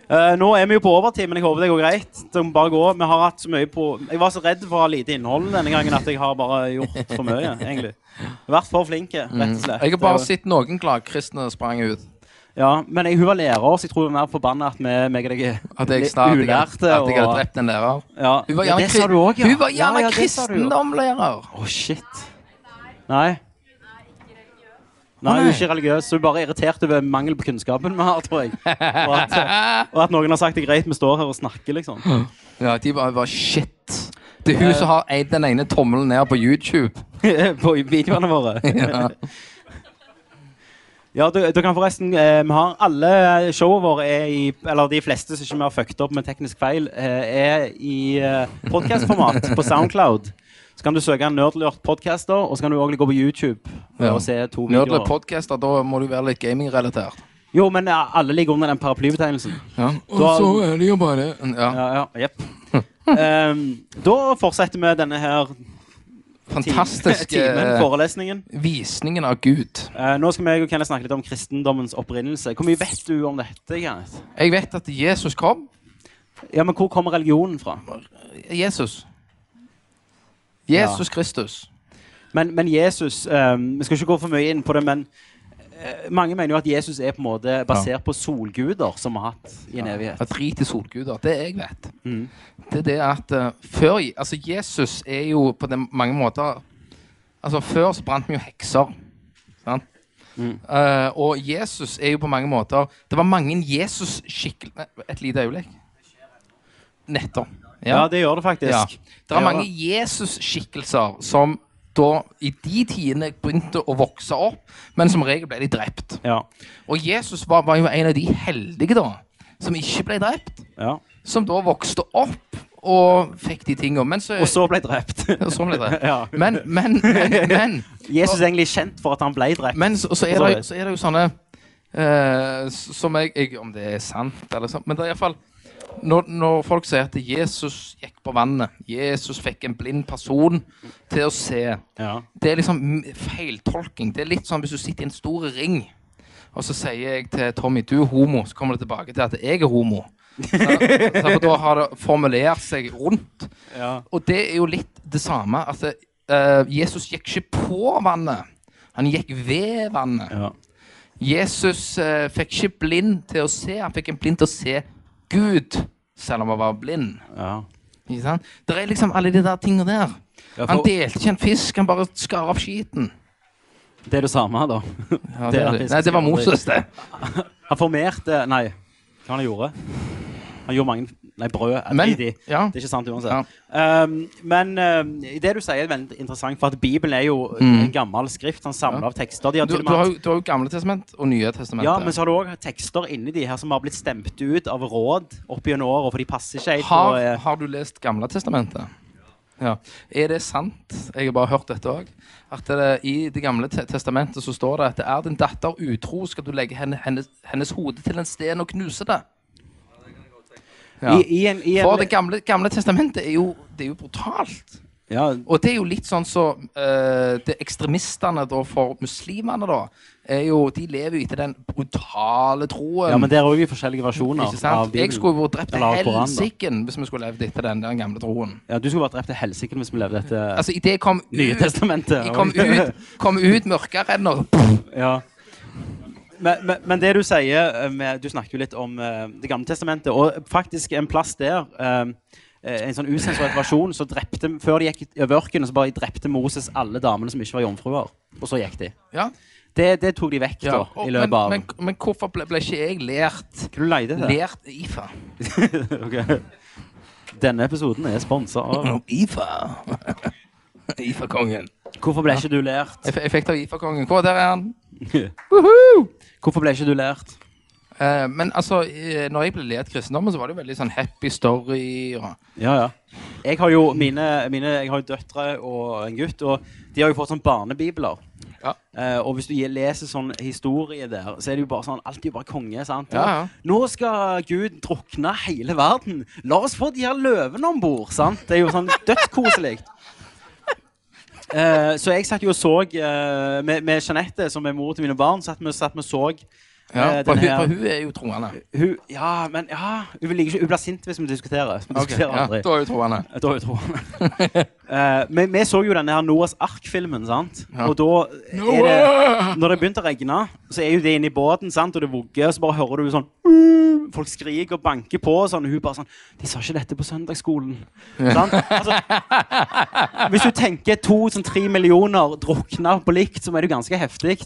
eh, nå er vi jo på overtid, men jeg håper det går greit. Det må bare gå. Vi har hatt så mye på Jeg var så redd for å ha lite innhold denne gangen at jeg har bare gjort for mye, egentlig. Vært for flinke, rett og Mm. slett.
Mm. Jeg har
Det er jo-
bare sett noen gladkristne sprang ut.
ja, men jeg, hun var lærer, så jeg tror hun var forbanna at vi, meg og deg er
At jeg
litt
snart at jeg,
ulærte.
at jeg hadde
og-
drept en lærer.
ja.
Hun var
ja,
gjerne,
det sa
kri-
du òg, ja.
hun var gjerne
ja, ja, det sa du jo.
kristendomlærer.
Å, shit. Nei. Nei, hun er ikke religiøs. Hun er bare irritert over mangel på kunnskapen vi har, tror jeg. Og at, og at noen har sagt det er greit vi står her og snakker, liksom.
Ja, de var, var shit. Det er hun som har eid den ene tommelen ned på YouTube.
på videoene våre.
Ja.
Ja, du, du kan forresten eh, Vi har alle showene våre er i Eller de fleste som ikke vi har fucket opp med teknisk feil, eh, er i eh, podkastformat på Soundcloud. Så kan du søke Nerdlurt podcaster, og så kan du også gå på YouTube eh,
Ja.
og se to
Nerdler
videoer.
podcaster, da må du være litt gamingrelatert.
Jo, men eh, alle ligger under den paraplybetegnelsen.
Ja. Og
Da-
så er det jo bare ja.
Ja, ja, jepp. Ehm, da fortsetter vi denne her ti-
Fantastiske
timen,
eh,
forelesningen.
visningen av Gud.
Eh, nå skal vi og Kenneth snakke litt om kristendommens opprinnelse. Hvor mye vet du om dette? Kenneth?
Jeg vet at Jesus kom.
Ja, men Hvor kommer religionen fra?
Jesus. Jesus Kristus.
Men, men Jesus eh, Vi skal ikke gå for mye inn på det, men eh, mange mener jo at Jesus er på en måte basert på solguder som vi har hatt i en evighet.
At drit i solguder. Det jeg vet, det er det at eh, før Je- Altså, Jesus er jo på den, mange måter Altså, før så brant vi jo hekser. Sant? Eh, og Jesus er jo på mange måter Det var mange Jesus-skikkelser Et lite øyeblikk. Nettopp.
Ja, det gjør det faktisk.
Ja. Det er
gjør
mange Jesus-skikkelser som da i de tidene begynte å vokse opp, men som regel ble de drept.
Ja.
Og Jesus var, var jo en av de heldige da, som ikke ble drept.
ja.
Som da vokste opp og fikk de tingene. Men så,
Og så ble drept.
og så ble det drept.
Ja.
Men, men, men, men,
Jesus er egentlig kjent for at han ble drept.
men så, så, er det, jo- så er det jo sånne eh, s- Som jeg, jeg Om det er sant eller sånt, men det er iallfall når, når folk sier at Jesus gikk på vannet, Jesus fikk en blind person til å se
Ja.
Det er liksom m- feiltolking. Det er litt sånn hvis du sitter i en stor ring, og så sier jeg til Tommy du er homo, så kommer det tilbake til at jeg er homo. Så, så for da har det formulert seg rundt.
Ja.
Og det er jo litt det samme. At det, eh, Jesus gikk ikke på vannet. Han gikk ved vannet.
Ja.
Jesus eh, fikk ikke blind til å se. Han fikk en blind til å se Gud, selv om han var blind.
Ja.
Ikke sant? Det er liksom alle de der tingene der.
Ja, for-
Han delte ikke en fisk, han bare skar opp skiten.
Det er det samme, da. Det
Ja, det,
er
er det.
fisk.
Nei, det var Moses, det.
Han formerte Nei, hva han gjorde? Han gjorde mange Nei, brød. eh,
Men-
drit i.
ja.
Det er ikke sant uansett. Um, men um, det du sier, er veldig interessant, for at Bibelen er jo en gammel skrift. Han samler av tekster. De har
Mm. Du,
til og
du,
med
har,
hatt-
jo- du har jo Gamle testament og Nye testament.
ja, men så har du òg tekster inni de her som har blitt stemt ut av råd opp gjennom åra, for de passer ikke helt. og,
har,
eh,
har du lest Gamle testamentet? Ja. Er det sant, jeg har bare hørt dette òg, at det, i Det gamle te testamentet så står det at er din datter utro, skal du legge henne, hennes, hennes hode til en sten og knuse det. Ja.
i, i en, i en,
For Det gamle, gamle testamentet er jo, det er jo brutalt.
ja,
Og det er jo litt sånn så eh, det Ekstremistene da for muslimene, da, er jo, de lever jo etter den brutale troen.
ja, men der er òg forskjellige versjoner
ikke
av
sant?
Bibelen.
Jeg skulle jo vært drept
Eller av
til
Koranen, da.
helsiken hvis vi skulle levd etter den der gamle troen.
Ja, du skulle vært drept til helsike hvis vi levde etter
Altså, idet jeg kom
Nye
ut,
testamentet.
jeg kom ut, kom ut mørkerenner
Ja. Men, men, men det du sier eh, med, Du snakket jo litt om eh, Det gamle testamentet, og faktisk en plass der eh, eh, En sånn usensurert versjon så drepte Før de gikk over ørkenen, så bare drepte Moses alle damene som ikke var jomfruer. Og så gikk de.
ja.
Det, det tok de vekk,
Ja.
da,
Og-
i
men,
løpet av
men, men hvorfor ble, ble ikke jeg lært
Hva du leide etter?
Lært IFA?
Ok. Denne episoden er sponsa av
IFA. IFA-kongen.
Hvorfor ble ikke du lært?
Jeg, f- jeg fikk det av IFA-kongen. Hvor der er han?
Hvorfor ble ikke du lært?
Eh, men altså, eh, når jeg ble ledd kristendommen, så var det jo veldig sånn happy story. og...
Ja, ja. Jeg har jo mine, mine jeg har jo døtre og en gutt, og de har jo fått sånn barnebibler.
Ja.
Eh, og hvis du gi- leser sånn historie der, så er det jo bare sånn Alt er jo bare konge, sant?
Ja, ja.
Nå skal Gud drukne hele verden. La oss få de her løvene om bord, sant? Det er jo sånn dødskoselig. Eh, så jeg satt jo og så eh, med, med Jeanette, som er mor til mine barn, satt vi satt vi og så
Ja,
eh,
for,
den her-
hun, for hun er jo troende.
hun, ja, men ja, hun, liker ikke, hun blir sint hvis vi diskuterer. Hvis vi
Ok,
diskuterer
ja,
aldri.
da er hun troende.
Jeg tror jeg tror han. Eh, men vi så jo denne her Noas ark-filmen, sant?
Ja.
Og da er det Når det begynte å regne, så er jo det inne i båten, sant? og det vugger, og så bare hører du sånn «Mm», Folk skriker og banker på, og sånn, og hun bare sånn 'De sa ikke dette på søndagsskolen.' Sant? Altså, hvis du tenker to sånn tre millioner drukner på likt, så er det jo ganske heftig.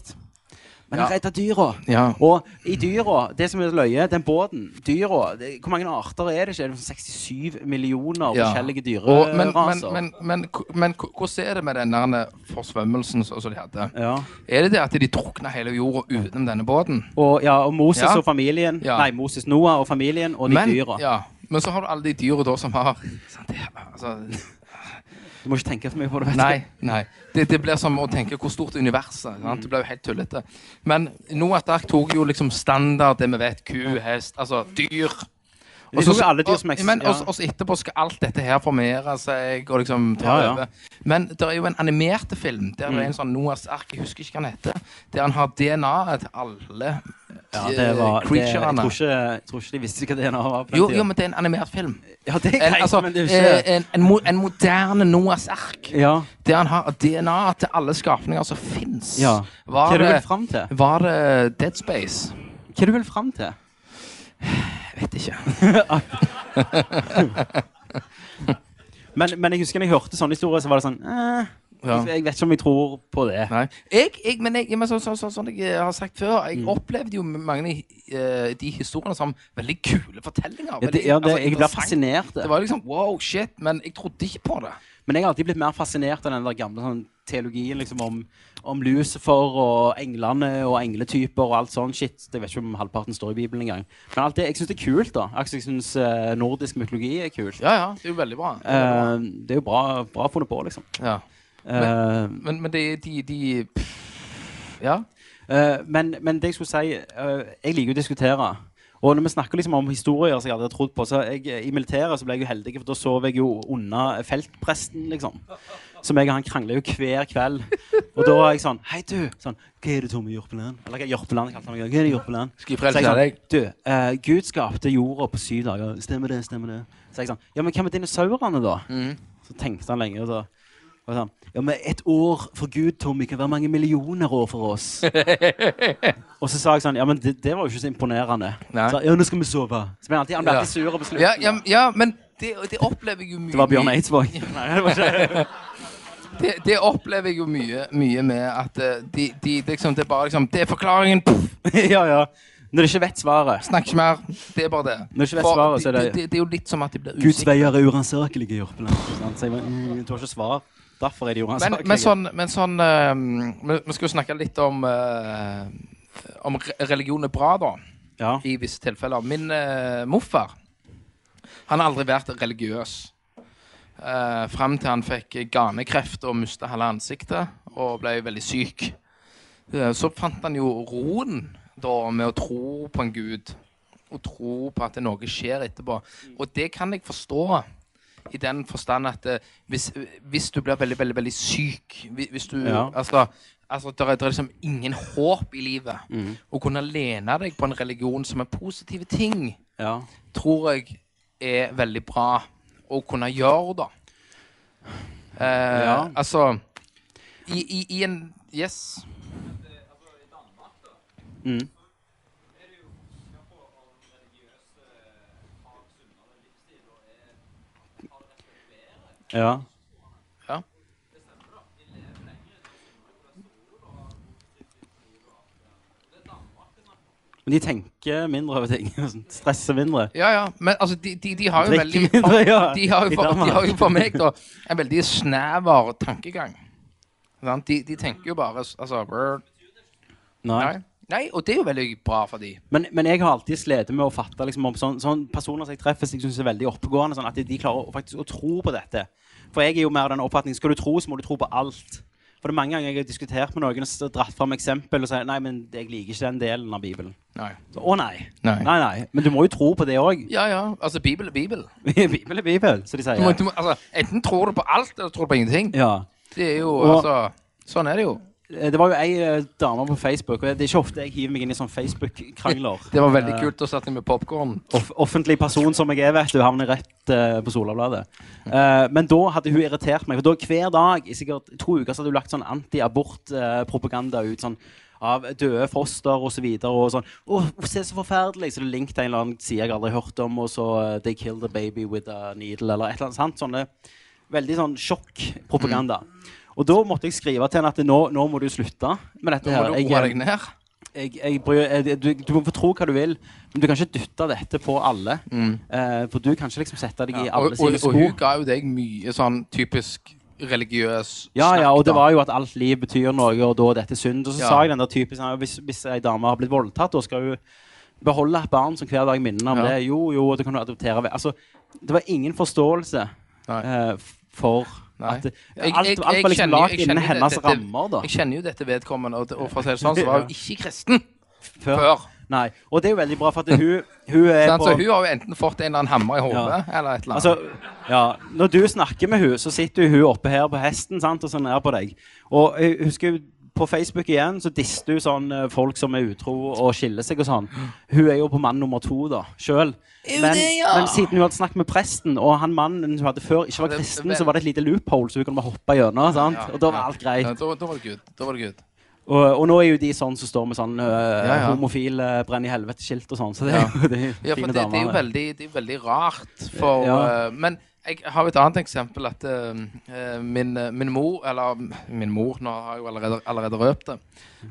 Men
Ja.
han redda dyra.
Ja.
Og i dyra, det som er løye, den båten, dyra det, Hvor mange arter er det ikke? Er det sånn 67 millioner
Ja.
forskjellige
Og, men, men,
dyreraser?
men, men, k- men k- hvordan er det med den der forsvømmelsen som som de hadde?
Ja.
Er det det at de drukna hele jorda utenom denne båten?
Og, ja, og Moses
Ja.
og familien.
Ja.
Nei, Moses Noah og familien og de
men,
dyra.
ja, men så har du alle de dyra da som har Sant, det er- altså,
Du må ikke tenke for mye på det. vet du.
Nei. nei. Det, det blir som å tenke hvor stort universet er. Det blir jo helt tullete. Men Noah Dark tok jo liksom standard, det vi vet, ku, hest, altså dyr.
De tok jo alle dyr som
og-
eks-
men
ja.
også, også etterpå skal alt dette her formere seg og liksom ta
Ja, Mm. ja.
over. Men det er jo en animerte film der det er en sånn Noahs ark, jeg husker ikke hva den heter, der han har DNA-et til alle
Ja,
eh,
det var, det, jeg,
creaturene.
tror ikke, jeg tror ikke de visste hva DNA var. på den
Jo,
tiden.
jo, men det er en animert film.
ja, det er
En,
greit,
altså,
men det er jo ikke
eh, en, en, mo en moderne Noahs ark.
Ja.
Der han har DNA til alle skapninger som fins.
ja. Hva
Var,
er det du vil
det-
fram til?
var det Dead Space?
Hva er det du vil fram til?
Jeg vet ikke.
Men, men jeg husker når jeg hørte sånne historier, så var det sånn eh,
Ja.
jeg, jeg vet ikke om jeg tror på det.
Nei. Jeg, jeg, men jeg, men så, så, så, sånn jeg har sagt før,
Mm.
jeg opplevde jo mange eh, de historiene som veldig kule fortellinger.
Ja, det,
veldig,
ja, det,
altså,
jeg blir
interessant.
fascinert.
Det var liksom wow, shit, men jeg trodde ikke på det.
Men jeg har alltid blitt mer fascinert av den der gamle sånn, teologien liksom, om, om Lucifer og englene og engletyper og alt sånn shit. Jeg vet ikke om halvparten står i Bibelen engang. Men alt det, jeg syns det er kult, da. Akkurat som jeg syns nordisk mytologi er kult.
Ja, ja, det er jo veldig bra.
Eh, det er jo bra, bra funnet på, liksom.
Ja.
Eh,
Men, men de, de, de pff, Ja.
Eh, men, men det jeg skulle si eh, Jeg liker jo å diskutere. Og når vi snakker liksom om historier som jeg aldri har trodd på så jeg, I militæret så ble jeg jo heldig, for da sov jeg jo unna feltpresten, liksom. Som jeg og han krangler jo hver kveld. Og da var jeg sånn Hei, du! Sånn, Hva er det Tomme Jørpeland? Eller hva er Jørpeland? Jeg kalte han meg. Hva er det Jørpeland?
Skal jeg
Så
frelse
jeg sånn,
deg?
du, eh, Gud skapte jorda på syv dager. Stemmer det, stemmer det. Så jeg sånn, ja, men hva med dinosaurene da?
Mhm.
Så tenkte han lenge, og så og sånn, ja, men ett år for Gud, Tommy, kan være mange millioner år for oss. og så sa jeg sånn, ja, men det, det var jo ikke så imponerende.
Nei.
Så, ja, nå skal vi sove. Så ble han alltid, han ble
Ja.
alltid sur på slutten.
Ja, ja, ja men det, det opplever jeg jo mye
Det var Bjørn Eidsvåg. Nei, det var ikke det.
det, det opplever jeg jo mye, mye med at eh, de, de, det er liksom, det er bare liksom Det er forklaringen! Puff,
ja, ja. Når du ikke vet svaret.
snakk ikke mer. Det er bare det.
Når ikke vet
For
svaret, så er
det,
det-
det, det er jo litt som at de blir
Guds
usikre.
veier er uransakelige, Jørpeland. Sant? Så jeg bare, mm, du har ikke svar. Derfor er de
Men,
uransakelige.
men sånn, men sånn eh, vi- Vi skal jo snakke litt om eh, Om re- religion er bra, da.
Ja.
I visse tilfeller. Min uh, morfar Han har aldri vært religiøs. Uh, Fram til han fikk ganekreft og mista halve ansiktet og ble veldig syk. Eh, så fant han jo roen da med å tro på en gud. Og tro på at noe skjer etterpå. Og det kan jeg forstå. I den forstand at eh, hvis, hvis du blir veldig, veldig veldig syk hvi- Hvis du
Ja.
Altså, altså det er, der er liksom ingen håp i livet.
Mm.
Å kunne lene deg på en religion som er positive ting,
Ja.
tror jeg er veldig bra å kunne gjøre, da. Eh,
Ja.
Altså i, i, I en Yes.
Mm. Ja.
Ja.
Men de tenker mindre over ting. og sånn, Stresser mindre.
Ja, ja. Men altså, de, de, de har jo
Drikker
veldig
mindre, ja.
de, har jo
I
for, de
Danmark.
har jo for meg da en veldig snever tankegang. Sant? De, de tenker jo bare s- altså, brr,
Nei.
Nei. Nei, og det er jo veldig bra for de.
Men, men jeg har alltid slitt med å fatte liksom, om sånn, sånn personer som jeg treffer som jeg synes er veldig oppegående, sånn at de klarer å, faktisk å tro på dette. For jeg er jo mer den oppfatningen skal du tro, så må du tro på alt. For det er mange ganger jeg har diskutert med noen og så dratt fram eksempel og sier nei, men jeg liker ikke den delen av Bibelen.
Nei.
Så, å nei.
Nei.
nei. Nei, Men du må jo tro på det òg.
Ja, ja. Altså, Bibel er Bibel.
Bibel er Bibel, som de
Du må,
sier.
du må, altså, enten tror du på alt, eller tror du på ingenting.
Ja.
Det er jo,
Og-
altså Sånn er det jo.
Det var jo ei eh, dame på Facebook, og det er ikke ofte jeg hiver meg inn i sånne Facebook-krangler.
Det var veldig
Eh,
kult å sette med popkorn.
off offentlig person som jeg er, vet du, havner rett eh, på Solabladet. Eh, men da hadde hun irritert meg. For da hver dag i sikkert to uker så hadde hun lagt sånn antiabort-propaganda ut. sånn av døde foster osv. Og, så videre, og sånn Å, se så forferdelig! Så det er link til en eller annen side jeg aldri har hørt om, og så eh, They killed the baby with a needle, eller et eller annet sant? Sånne veldig sånn sjokkpropaganda. Og da måtte jeg skrive til henne at nå, nå må du slutte med dette
Nå
her.
må du
Jeg,
roe
eh,
deg ned.
jeg, jeg bryr, jeg, du, du må få tro hva du vil, men du kan ikke dytte dette på alle. Eh, for du kan ikke liksom sette deg i
Mm. Ja,
alle
og, og,
sine sko.
og hun ga jo deg mye sånn typisk religiøs
Ja,
snakk,
ja, og det
da.
var jo at alt liv betyr noe, og da er dette synd. Og så
Ja.
sa jeg den der typisk sånn, hvis, hvis ei dame har blitt voldtatt, da skal hun beholde et barn som hver dag minner om
Ja.
det. Jo, jo, og da kan du adoptere ve- Altså, det var ingen forståelse
Nei.
eh, f- for
Nei.
at det-
eh, Jeg-
alt,
jeg-
alt
jeg
var liksom
kjenner jo- jeg
lagd innen
kjenner jo
hennes
dette-
rammer, da.
Jeg kjenner jo dette vedkommende, og, og for å si det sånn, så var hun ikke kristen
Før.
før.
Nei. Og det er jo veldig bra, for at hun, hun er
Sant?
på
Så hun har jo enten fått en eller annen hammer i hodet,
Ja.
eller et eller annet.
Altså, ja, når du snakker med hun, så sitter jo hun oppe her på hesten sant, og så nær på deg. Og jeg husker jo på Facebook igjen så disser hun sånn eh, folk som er utro og skiller seg og sånn. Hun er jo på mann nummer to da, sjøl. Men, men siden hun hadde snakket med presten, og han mannen hun hadde før, ikke var
Det-
kristen,
vel-
så var det et lite loophole, så hun kunne bare hoppe gjennom. sant? Og da var alt greit.
Ja, da, da var det good. Da var det good.
Og, og nå er jo de sånn som står med sånn uh,
ja.
homofil eh, brenn i helvete-skilt og sånn, så det er
Ja.
jo det er jo
Ja, for
fine
det, det er jo
damer.
veldig, det er jo veldig rart for
Ja.
eh, Men jeg har jo et annet eksempel at eh, eh, min, eh, min mor Eller mm, min mor, nå har jeg jo allerede, allerede røpt det.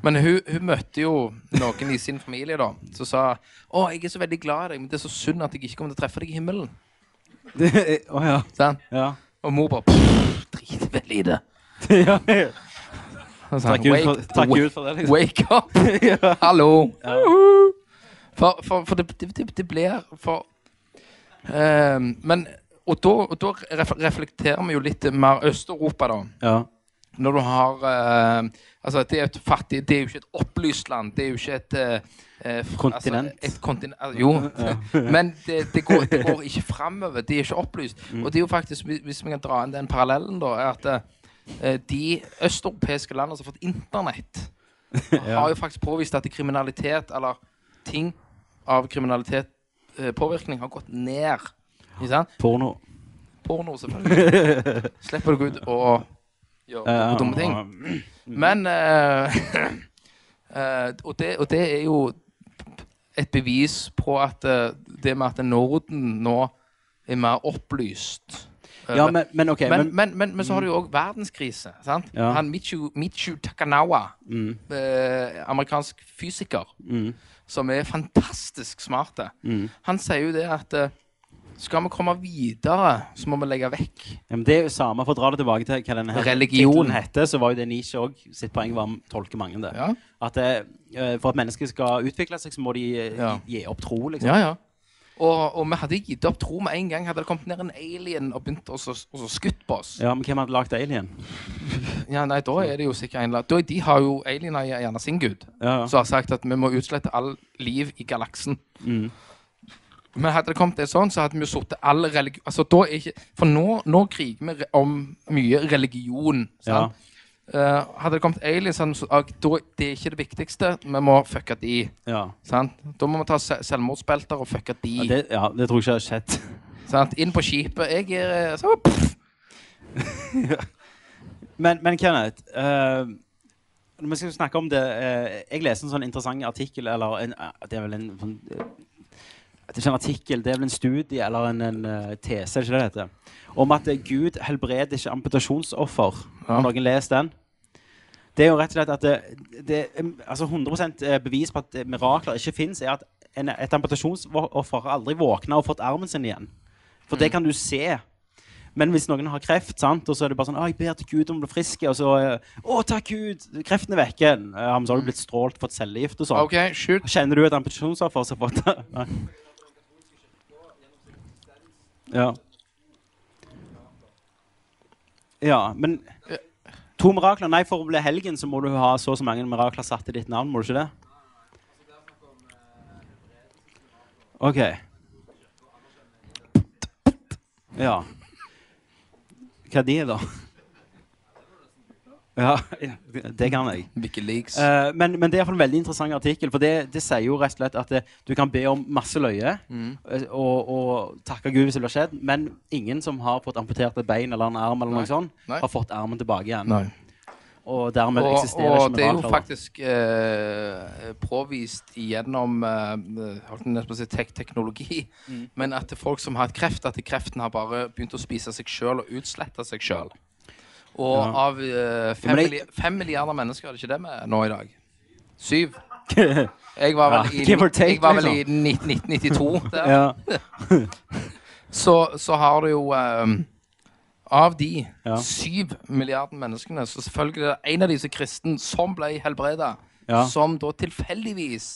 Men hun, hun møtte jo noen i sin familie da som sa Å, jeg er så veldig glad i deg, men det er så synd at jeg ikke kommer til å treffe deg i himmelen.
Det- Å ja.
Sant?
ja.
Og mor bare «Pff, Drit vel i det.
ja.
Og så sa
Takk
han,
Gud for,
«Wake-
takk
wake-
Gud for det, liksom.
Wake up! Hallo! For, for, for det, det, det- det blir for Ehm, Men Og da, og da ref- reflekterer vi jo litt mer Øst-Europa, da.
Ja.
Når du har eh, Altså, det er et fattig Det er jo ikke et opplyst land. Det er jo ikke et eh, eh, fr-
Kontinent.
Altså, et kontin al- jo. Men det, det, går, det går ikke framover. De er ikke opplyst. Og det er jo faktisk, hvis- hvis vi kan dra inn den parallellen, da, er at eh, de østeuropeiske landene som har fått internett, har jo faktisk påvist at kriminalitet, eller ting av kriminalitet eh, påvirkning, har gått ned. Ikke sant?
Porno.
Porno, selvfølgelig. Slipper du ut og gjøre dumme ting. Men eh, eh, og, det, og det er jo et bevis på at eh, det med at Norden nå er mer opplyst eh,
Ja, men, men ok.
men,
Men, Mm.
men, men, men så har du jo òg verdenskrise. sant?
Ja. Mm.
Han Michu, Michu Takanawa, eh, amerikansk fysiker, som er fantastisk smart,
Mm.
han sier jo det at eh, skal vi komme videre, så må vi legge vekk
ja, men det er jo samme, for å dra det tilbake til hva denne her
Religion.
tittelen heter, så var jo det Nietzsche også, sitt poeng var å tolke mange det.
Ja.
At eh, eh, for at mennesker skal utvikle seg, så må de eh,
Ja.
gi gi opp tro, liksom.
Ja, ja. Og, og vi hadde gitt opp tro med en gang. Hadde det kommet ned en alien og begynt å så- og så skutt på oss. Ja.
men hvem hadde lagd Alien?
nei, Da er det jo sikkert en eller annen da- De har jo aliener er gjerne sin gud,
Ja, ja.
som har sagt at vi må utslette all liv i galaksen.
Mm.
Men hadde det kommet til sånn, så hadde vi jo sittet all religion altså, da er ikke, For nå, nå kriger vi re- om mye religion.
Ja.
Sant? Eh, hadde det kommet aliens, så hadde vi så- ah, da, det er ikke det viktigste. Vi må fucke de.
Ja.
Sant? Da må vi ta se- selvmordsbelter og fucke de.
Ja, det, ja, det tror jeg ikke har skjedd.
Sant? Inn på skipet. Jeg er eh, så, pff.
Men, men Kenneth, eh, når vi skal snakke om det eh, Jeg leste en sånn interessant artikkel, eller en, eh, det er vel en sånn eh, Det er ikke en artikkel, det er vel en studie eller en, en eh, tese, er det ikke det det heter? Om at eh, Gud helbreder ikke amputasjonsoffer. Har noen lest den? Det er jo rett og slett at det, det altså 100 bevis på at eh, mirakler ikke fins, er at en, et amputasjonsoffer har aldri våkna og fått armen sin igjen. For det kan du se. Men hvis noen har kreft, sant, og så er det bare sånn «Å, 'Jeg ber til Gud om å bli frisk', og så eh, 'Å, takk Gud, kreften er vekke'. Ja, men så har du blitt strålt, fått cellegift og sånn.
OK, shoot.
Kjenner du et amputasjonsoffer som har fått det? Nei. Ja. Ja, men To mirakler? Nei, for å bli helgen så må du ha så og så mange mirakler satt i ditt navn, må du ikke det? OK. Ja. Hva er de, da? Ja, det kan jeg.
Wikileaks.
Eh, men, men det er i hvert fall en veldig interessant artikkel. For det, det sier jo rett og slett at det, du kan be om masse løye
Mm.
eh, og, og takke Gud hvis det blir skjedd, men ingen som har fått amputert et bein eller en arm, eller
Nei.
noe sånt,
Nei.
har fått armen tilbake igjen.
Nei.
Og dermed
og,
eksisterer
og
ikke
det er jo
mirakler.
faktisk eh, påvist gjennom eh, holdt jeg nesten på å si tek teknologi,
Mm.
men at det er folk som har hatt kreft, at kreften har bare begynt å spise seg sjøl og utslette seg sjøl. Og
Ja.
av eh, fem,
Ja, men
milli- fem milliarder mennesker er det ikke det med nå i dag? Syv. Jeg var
Ja,
vel i,
give or take,
jeg var vel i
liksom.
19- 1992 der.
ja.
så, så har du jo ehm, Av de
Ja.
syv milliarden menneskene, så selvfølgelig er det en av de som er kristen, som ble helbreda,
Ja. Mm.
som da tilfeldigvis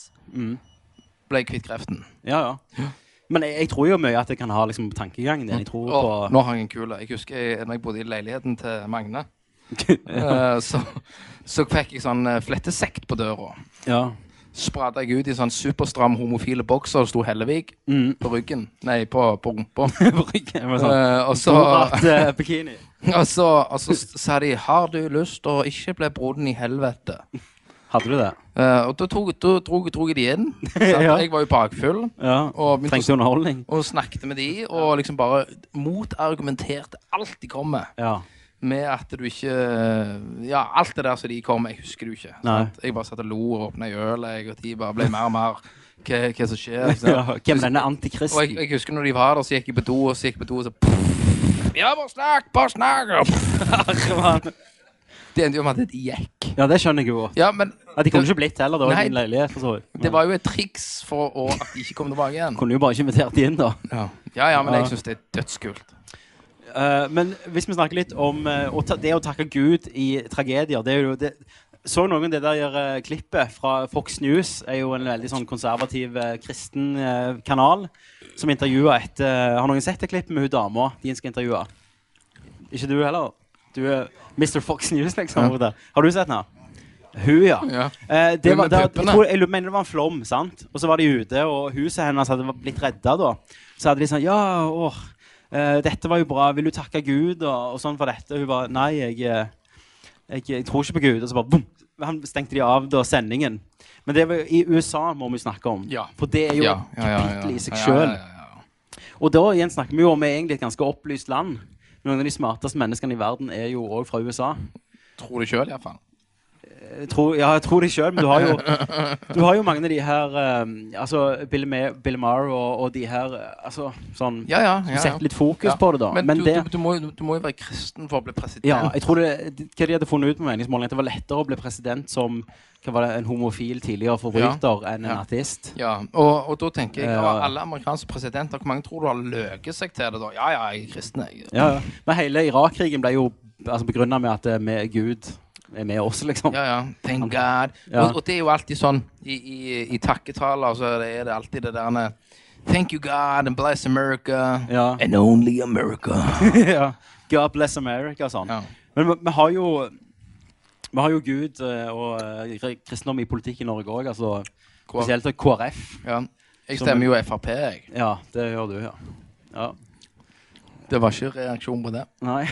ble kvitt kreften.
ja, ja. Men jeg, jeg tror jo mye at jeg kan ha liksom, tankegangen din. Jeg tror
Og
på
nå hang en kule. Jeg husker jeg, når jeg bodde i leiligheten til Magne, eh, så, så fikk jeg sånn eh, flettesekt på døra.
ja.
Sprada jeg ut i sånn superstram homofile bokser og sto Hellevig
Mm.
på ryggen. Nei, på, på rumpa.
På ryggen. Jeg var sånn,
Eh, og så
Borat, eh, bikini.
Og så, og så s- sa de 'Har du lyst å ikke bli broden i helvete?'
Hadde du det?
Eh, og da tok, da dro, dro jeg de inn. sant?
Ja.
Jeg var jo bakfull.
Ja.
Og begynte å
Trengte underholdning?
Og snakket med de, og liksom bare motargumenterte alt de kom med.
Ja.
Med at du ikke eh, Ja, alt det der som de kom med, jeg husker det jo ikke.
Nei.
sant? Jeg bare satt og lo og åpna ei øl, jeg, og de bare ble mer og mer Hva, hva som skjer? sant?
ja. Hvem denne
Og jeg,
antikristen?
jeg husker når de var der, så gikk jeg på do, og så gikk jeg på do, og så Ja, bare snakk! Bare snakk! Det endte jo med at det gikk.
Ja, det skjønner jeg jo.
Ja, men
Ja, de kunne ikke blitt heller, da.
Nei.
i min leilighet, for så vidt.
det var jo et triks for å, at de ikke kom tilbake igjen.
Kunne jo bare ikke invitert de inn, da.
Ja, ja, men
Ja.
jeg syns det er dødskult.
Eh, men hvis vi snakker litt om eh, å ta, det å takke Gud i tragedier det er jo det, Så noen det der eh, klippet fra Fox News? er jo en veldig sånn konservativ eh, kristen eh, kanal. Som intervjua et eh, Har noen sett det klippet med hun dama de skal intervjue? Ikke du heller? Du er Mr. Fox News, liksom. Oda. Har du sett den? Hun, ja.
Ja.
Eh, det
Hun
var,
med
det, jeg,
puppene.
tror, jeg mener det var en flom, sant? Og så var de ute, og huset hennes hadde blitt redda da. Så hadde de sånn Ja, åh, eh, dette var jo bra. Vil du takke Gud og, og sånn for dette? Hun bare Nei, jeg, eh, jeg, jeg tror ikke på Gud. Og så bare boom! Han stengte de av da sendingen. Men det var, i USA må vi snakke om.
Ja.
For det er jo
Ja,
et
ja, ja, ja.
kapittel i seg
Ja,
sjøl.
ja, ja, ja.
Og da igjen snakker vi jo om vi er egentlig et ganske opplyst land. Noen av de smarteste menneskene i verden er jo òg fra USA.
Tror det sjøl, iallfall.
Jeg tror, ja, jeg tror det sjøl, men du har, jo, du har jo mange av de her eh, Altså Bill, Ma Bill Maher og, og de her eh, Altså sånn
Ja, ja. ja,
som
ja.
setter litt fokus på det, da.
Men,
Men,
du,
det
du, du, må, jo- du må jo være kristen for å bli president.
Ja, jeg tror det Hva de hadde funnet ut med meningsmålingen, at det var lettere å bli president som hva var det, en homofil tidligere forbryter enn en
Ja.
artist.
Ja, og, og da tenker jeg
Ja.
av alle amerikanske presidenter, hvor mange tror du har løket seg til det da? Ja, ja, jeg er kristen, jeg.
Ja, ja. Men hele Irak-krigen ble jo altså, begrunna med at eh, med Gud er med oss, liksom.
Ja, ja. Thank God.
Ja.
Og, og det er jo alltid sånn i, i, i takketaler, så er det, er det alltid det derne Thank you God and bless America
Ja.
and only America.
ja. God bless America og sånn.
Ja.
Men vi- vi har jo vi har jo Gud eh, og eh, kristendom i politikk i Norge òg. Altså, spesielt KrF.
Ja. Jeg
Som-
stemmer jo Frp, jeg.
Ja, det gjør du, ja. ja.
Det var ikke reaksjon på det.
Nei.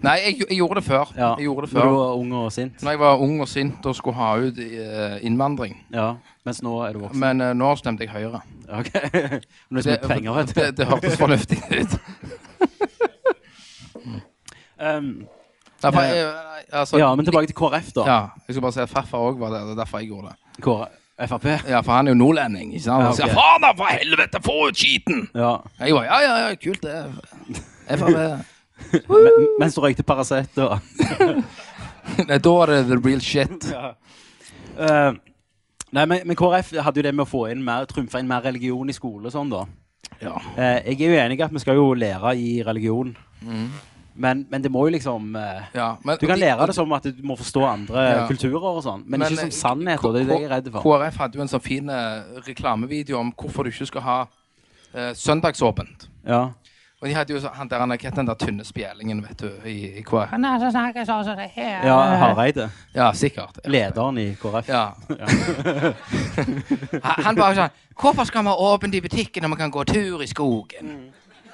Nei, jeg, jeg gjorde det før.
Ja.
Jeg gjorde det
Når
før.
du var ung og sint.
Når jeg var ung og sint og skulle ha ut eh, innvandring.
Ja. Mens nå er du voksen.
Men eh, nå stemte jeg Høyre.
Ja, Ok. Men det er så mye penger, vet
det,
du.
det hørtes fornuftig ut.
Um,
Nei, for,
Ja.
jeg- altså,
ja, men tilbake til KrF, da.
Ja, jeg skulle bare si at farfar òg var der. Det er derfor jeg gjorde det.
KrF. Frp.
Ja, For han er jo nordlending. ikke sant?
Ja,
Han sier,
ok.
Faen da, for helvete, få ut skiten!
Ja.
Jeg bare, ja, ja, ja, kult det. Frp.
Men, mens du røykte Paracet og
Nei, Da er det the real shit.
Eh, Nei, men, men KrF hadde jo det med å få inn mer, trumfe inn mer religion i skole og sånn, da.
Ja.
Eh, jeg er jo enig i at vi skal jo lære i religion, men, men det må jo liksom eh,
Ja, men-
Du kan
Mm. og de-
lære det som at du må forstå andre
Ja.
kulturer og sånn, men, ikke som
eh,
sannhet, og det er det jeg er redd for.
KrF hadde jo en sånn fin eh, reklamevideo om hvorfor du ikke skal ha eh, søndagsåpent.
Ja.
Og de hadde jo så- han der, han, den der tynne spjelingen, vet du, i, i KrF.
Nei, så snakker jeg sånn som det her.
ja, Hareide.
Ja, sikkert.
Lederen i KrF.
Ja. han han bare sånn Hvorfor skal vi ha åpent i butikken når vi kan gå tur i
Mm.
skogen?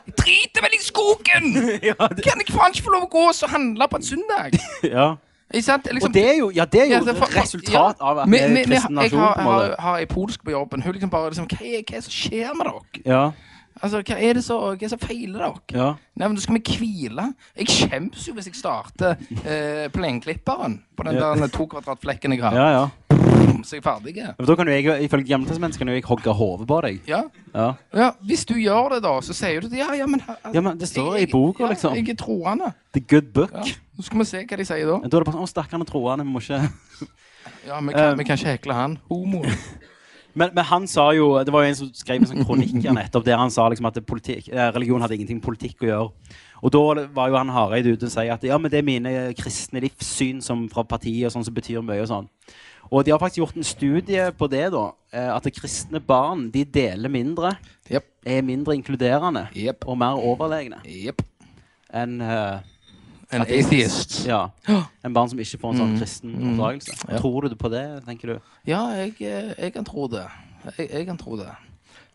Jeg driter vel i skogen! Kan jeg faen ikke få lov å gå og handle på en søndag?
Ja.
Ikke sant? Liksom-
Og det er jo, ja, det er jo
Ja, det er
et
for-
resultat
ja.
av at vi er
Men- men-
en kristen
Jeg
nasjon.
har,
på
jeg
en
har,
måte.
har ei polsk på jobben. Hun liksom bare liksom, hva, er, hva er det som skjer med dere?
Ja,
Altså, Hva er det som hva er det som feiler dere?
ja.
Nei, men Da skal vi hvile. Jeg skjemmes jo hvis jeg starter eh, plenklipperen på den
Ja.
der to kvadratflekken jeg har.
ja, ja.
Så jeg er ferdig.
Men Da kan jo jeg, ifølge Gammeltestamentet, kan jo jeg hogge hodet på deg.
Ja.
Ja.
ja. Hvis du gjør det, da, så sier du det. Ja, ja, men, her-
Ja, men det står i
jeg-
boka,
ja,
liksom.
Jeg er troende.
The good book.
Ja. Så skal vi se hva de sier da.
Men Da er det bare sånn Å, stakkaren troende, vi må ikke
Ja, Vi kan,
Um.
vi kan ikke hekle han. Homo.
men, men han sa jo Det var jo en som skrev en sånn kronikk her nettopp der han sa liksom at det politikk, eh, religion hadde ingenting med politikk å gjøre. Og da var jo han Hareide ute og sier at ja, men det er mine kristne livssyn som fra partiet og sånn som betyr mye og sånn. Og de har faktisk gjort en studie på det, da. eh, At kristne barn de deler mindre,
Jepp.
er mindre inkluderende
Jepp.
og mer overlegne
Jepp.
enn eh,
En atheist.
ja, enn barn som ikke får en sånn
Mm.
kristen oppdragelse. Tror du på det, tenker du?
Ja, jeg, eh, jeg kan tro det. Jeg, jeg kan tro det.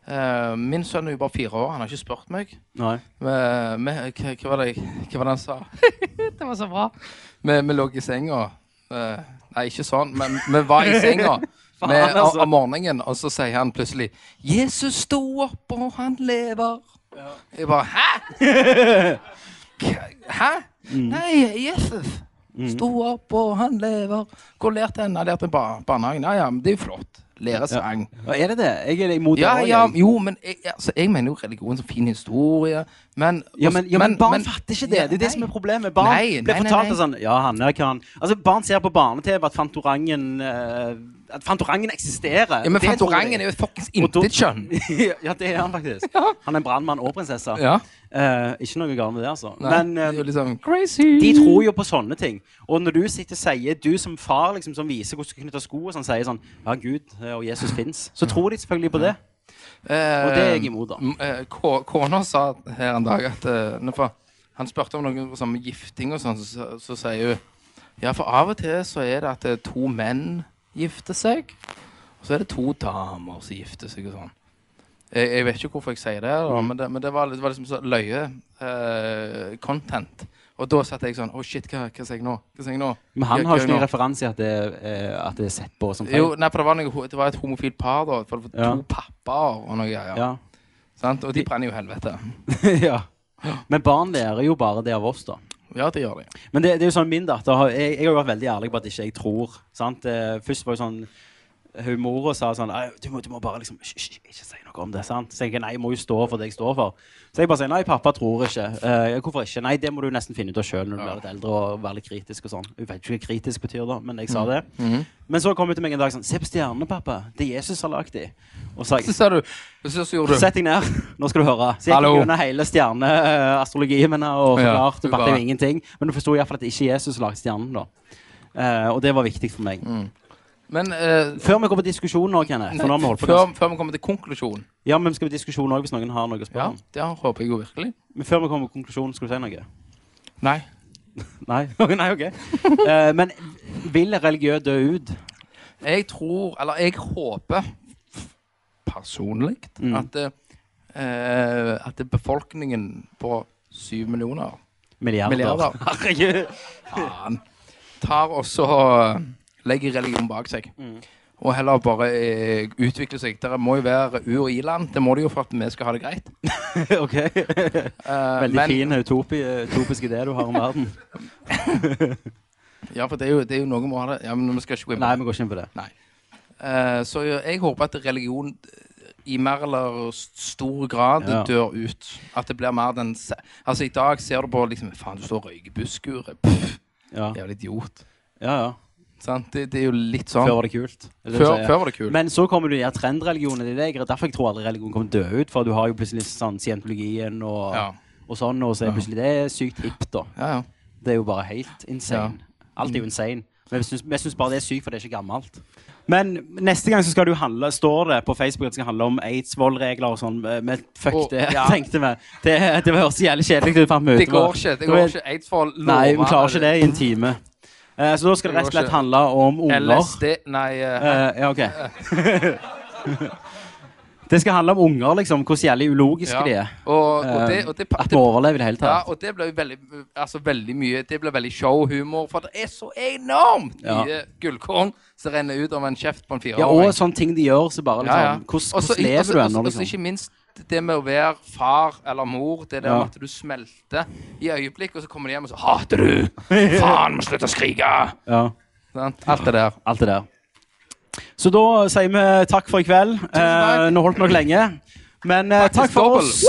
Eh, min sønn er jo bare fire år. Han har ikke spurt meg.
Nei.
Men- men- hva, hva, var det, jeg- hva var det han sa?
Det var så bra.
Vi, vi lå i senga. eh, nei, ikke sånn, men vi var i senga med,
altså.
om morgenen, og så sier han plutselig 'Jesus sto opp, og han lever'. Jeg bare 'Hæ?! K- Hæ? Nei, Jesus sto opp, og han lever. Hvor lærte han? Han lærte i bar- barnehagen. Ja, ja, men det er jo flott. Lære sang.
Ja, er det det? Jeg er imot
Ja,
det. også,
ja,
jeg.
jo, men jeg, altså, jeg mener jo religion som fin historie, men
Ja, men, ja, men, barn fatter ikke det.
Ja,
det er det
nei.
som er problemet. Barn
Nei,
blir
nei, nei,
fortalt
nei.
at sånn Ja, Hanne kan Altså, barn ser på barne-TV at Fantorangen eh, At Fantorangen eksisterer.
Ja, men Fantorangen er jo et fuckings intetkjønn.
Ja, det er han faktisk. Han er en brannmann og prinsesse.
Ja.
Eh, ikke noe galt med det, altså.
Nei,
Men
det
eh,
er jo liksom
de tror jo på sånne ting. Og når du sitter og sier, du som far liksom, som viser hvordan du skal knytte sko, og sånn, sier sånn Ja, Gud eh, og Jesus fins. Så tror de selvfølgelig på det.
Eh,
Og det er jeg imot, da.
m- eh, ko- Kona sa her en dag at eh, nå for, Han spurte om noe sånn med gifting og sånn, så, så sier hun Ja, for av og til så er det at eh, to menn gifter seg, og så er det to damer som gifter seg og sånn. Jeg, jeg vet ikke hvorfor jeg sier det,
Mm.
da, men det, men det, var, litt- det var liksom så løye eh, content. Og da satt jeg sånn Å, shit, hva, hva sier jeg nå? Hva sier jeg nå?
Men han
Hva-
har
hva
jo ikke
gjør jeg
noen
nå?
referanse i at det, eh, at det er sett på som feil.
Jo, nei, for det var, noe, ho- det var et homofilt par, da. For det var
Ja.
To pappaer og noe greier.
Ja.
Sant? Og de brenner jo helvete.
ja. Men barn lærer jo bare det av oss, da.
Ja, det gjør de.
Men det, det er jo sånn min datter har, jeg, jeg har jo vært veldig ærlig på at ikke jeg tror. Sant? Eh, Først var jo sånn hun mora sa sånn «Nei, du må, du må bare liksom hysj, hysj, ikke si noe om det. sant? Så jeg tenker, nei, jeg må jo stå for det jeg står for. Så jeg bare sier nei, pappa tror ikke. Eh, hvorfor ikke? Nei, det må du nesten finne ut av sjøl når du blir litt eldre og være litt kritisk og sånn. Hun vet ikke hva kritisk betyr da, men jeg sa det. Men så kom hun til meg en dag sånn Se på stjernene, pappa. Det er Jesus har lagd de. Og så sa jeg
Så sa du Så, så gjorde du
Sett deg ned. Nå skal du høre. Så gikk
Hallo.
jeg gjennom hele stjerneastrologien min og
Ja,
forklarte.
du
Ja,
bare-
jo ingenting. Men du forsto iallfall at det ikke er Jesus som lagde stjernen, da. Eh, og det var viktig for meg.
Men eh,
Før vi går på diskusjon nå, Kenneth for nå har vi holdt på
før,
ganske-
før vi kommer til konklusjonen
Ja, men skal vi diskusjon også hvis noen har noe å spørre
Ja,
om?
det håper jeg jo virkelig.
Men før vi kommer på konklusjonen, skal du si noe?
Nei.
Nei? Ok, Nei, ok. Eh, men vil religiø dø ut?
Jeg tror Eller jeg håper personlig
Mm.
at, eh, eh, at befolkningen på syv millioner
Milliarder.
Milliarder.
Herregud.
faen, tar også og legger religion bak seg.
Mm.
Og heller bare eh, utvikler seg. Det må jo være u- og i-land. Det må det jo for at vi skal ha det greit.
ok.
Eh,
Veldig
men-
fin utopi, utopisk idé du har om verden.
Ja, for det er jo, det er jo noe med å ha det Ja, men vi skal ikke gå inn på
Nei,
det.
vi går ikke inn på det.
Eh, så jeg håper at religion eh, i mer eller s- stor grad
Ja.
dør ut. At det blir mer den se- Altså, i dag ser du på liksom Faen, du står og røyker busskuret. Pff,
Ja,
jævlig idiot.
ja. ja.
Sant? Det, det er jo litt sånn.
Før var det kult. Det er det
Før,
jeg sier.
før var det kult.
Men så kommer du i at trendreligionen i det er derfor jeg tror aldri religion kommer til å dø ut. For du har jo plutselig sånn scientologien og,
Ja.
og sånn, og så er plutselig det er sykt hipt, da.
Ja, ja.
Det er jo bare helt insane. Alt er jo insane. Men vi syns- vi syns bare det er sykt, for det er ikke gammelt. Men neste gang så skal du handle, står det på Facebook at det skal handle om aids-voldregler og sånn. Men fuck
Å,
det,
ja.
tenkte vi. Det, det høres jævlig kjedelig ut. fant vi ut.
Det går ikke. Det
var-
går ikke. Eidsvoll
Nei, vi klarer ikke det i en time. Eh, så da skal det rett og slett handle om unger.
LSD Nei, eh,
Eh, ja, OK. det skal handle om unger, liksom. Hvordan jævlig ulogiske
ja.
de er.
Og,
Eh,
og det, og det,
At vi overlever i det hele
ja,
tatt.
og det ble jo veldig, altså veldig mye Det ble veldig show-humor, for det er så enormt
Ja.
mye gullkorn som renner ut av en kjeft på en
Ja,
fireåring.
og sånne ting de gjør, så bare liksom Hvordan,
Også-
hvordan lever
også-
du ennå,
også- også
liksom?
Ikke minst det med å være far eller mor, det der
Ja.
med at du smelter i øyeblikket, og så kommer de hjem og så 'Hater du? Faen, må slutte å skrike!'
Ja.
Sant? Alt det der.
Alt det der. Så da sier vi takk for i kveld. Eh,
takk.
nå holdt vi nok lenge. Men eh,
Faktisk
takk for
dobbelt.
oss.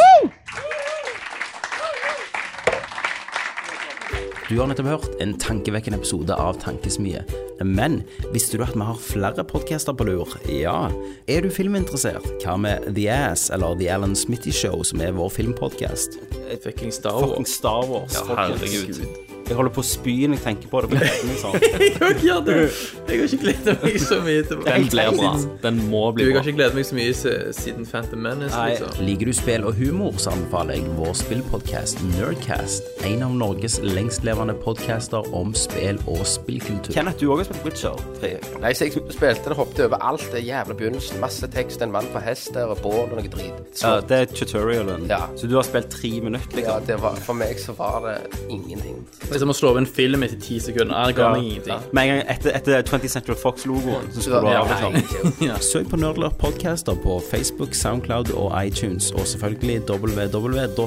Du har nettopp hørt en tankevekkende episode av Tankesmie. Men visste du at vi har flere podcaster på lur? Ja. Er du filminteressert? Hva med The Ass eller The Alan Smitty Show, som er vår filmpodcast?
Et fucking Star Wars.
Fucking Star Wars. folkens.
herregud.
Jeg holder på å spy når jeg tenker på det. På nettene, sånn.
Jeg har ikke hatt det. Jeg har ikke gledet meg så mye til
Den blir bra. Den må
Du,
bli
jeg har
bra.
ikke gledet meg så mye se- siden Phantom Menace,
Nei.
liksom.
Liker du spill og humor, så anbefaler jeg vår spillpodcast Nerdcast. En av Norges lengstlevende podcaster om spill og spillkultur.
Kenneth, du òg har spilt Witcher 3.
Nei, så jeg spilte det, hoppet over alt det jævla begynnelsen. Masse tekst, en mann på hest der, og bål og noe drit. Så,
Ja, det er tutorialen.
Ja.
Så du har spilt tre minutter,
ja,
liksom.
det var, for meg så var det ingenting.
Det er som å slå av en film etter ti sekunder. Nei, det ga meg
Ja.
ingenting.
Med en gang etter, etter 20th Central Fox-logoen, så
Ja,
skulle du av.
nei,
liksom.
Søk på Nerdlurt Podcaster på Facebook, Soundcloud og iTunes, og selvfølgelig www.nerdlert.no.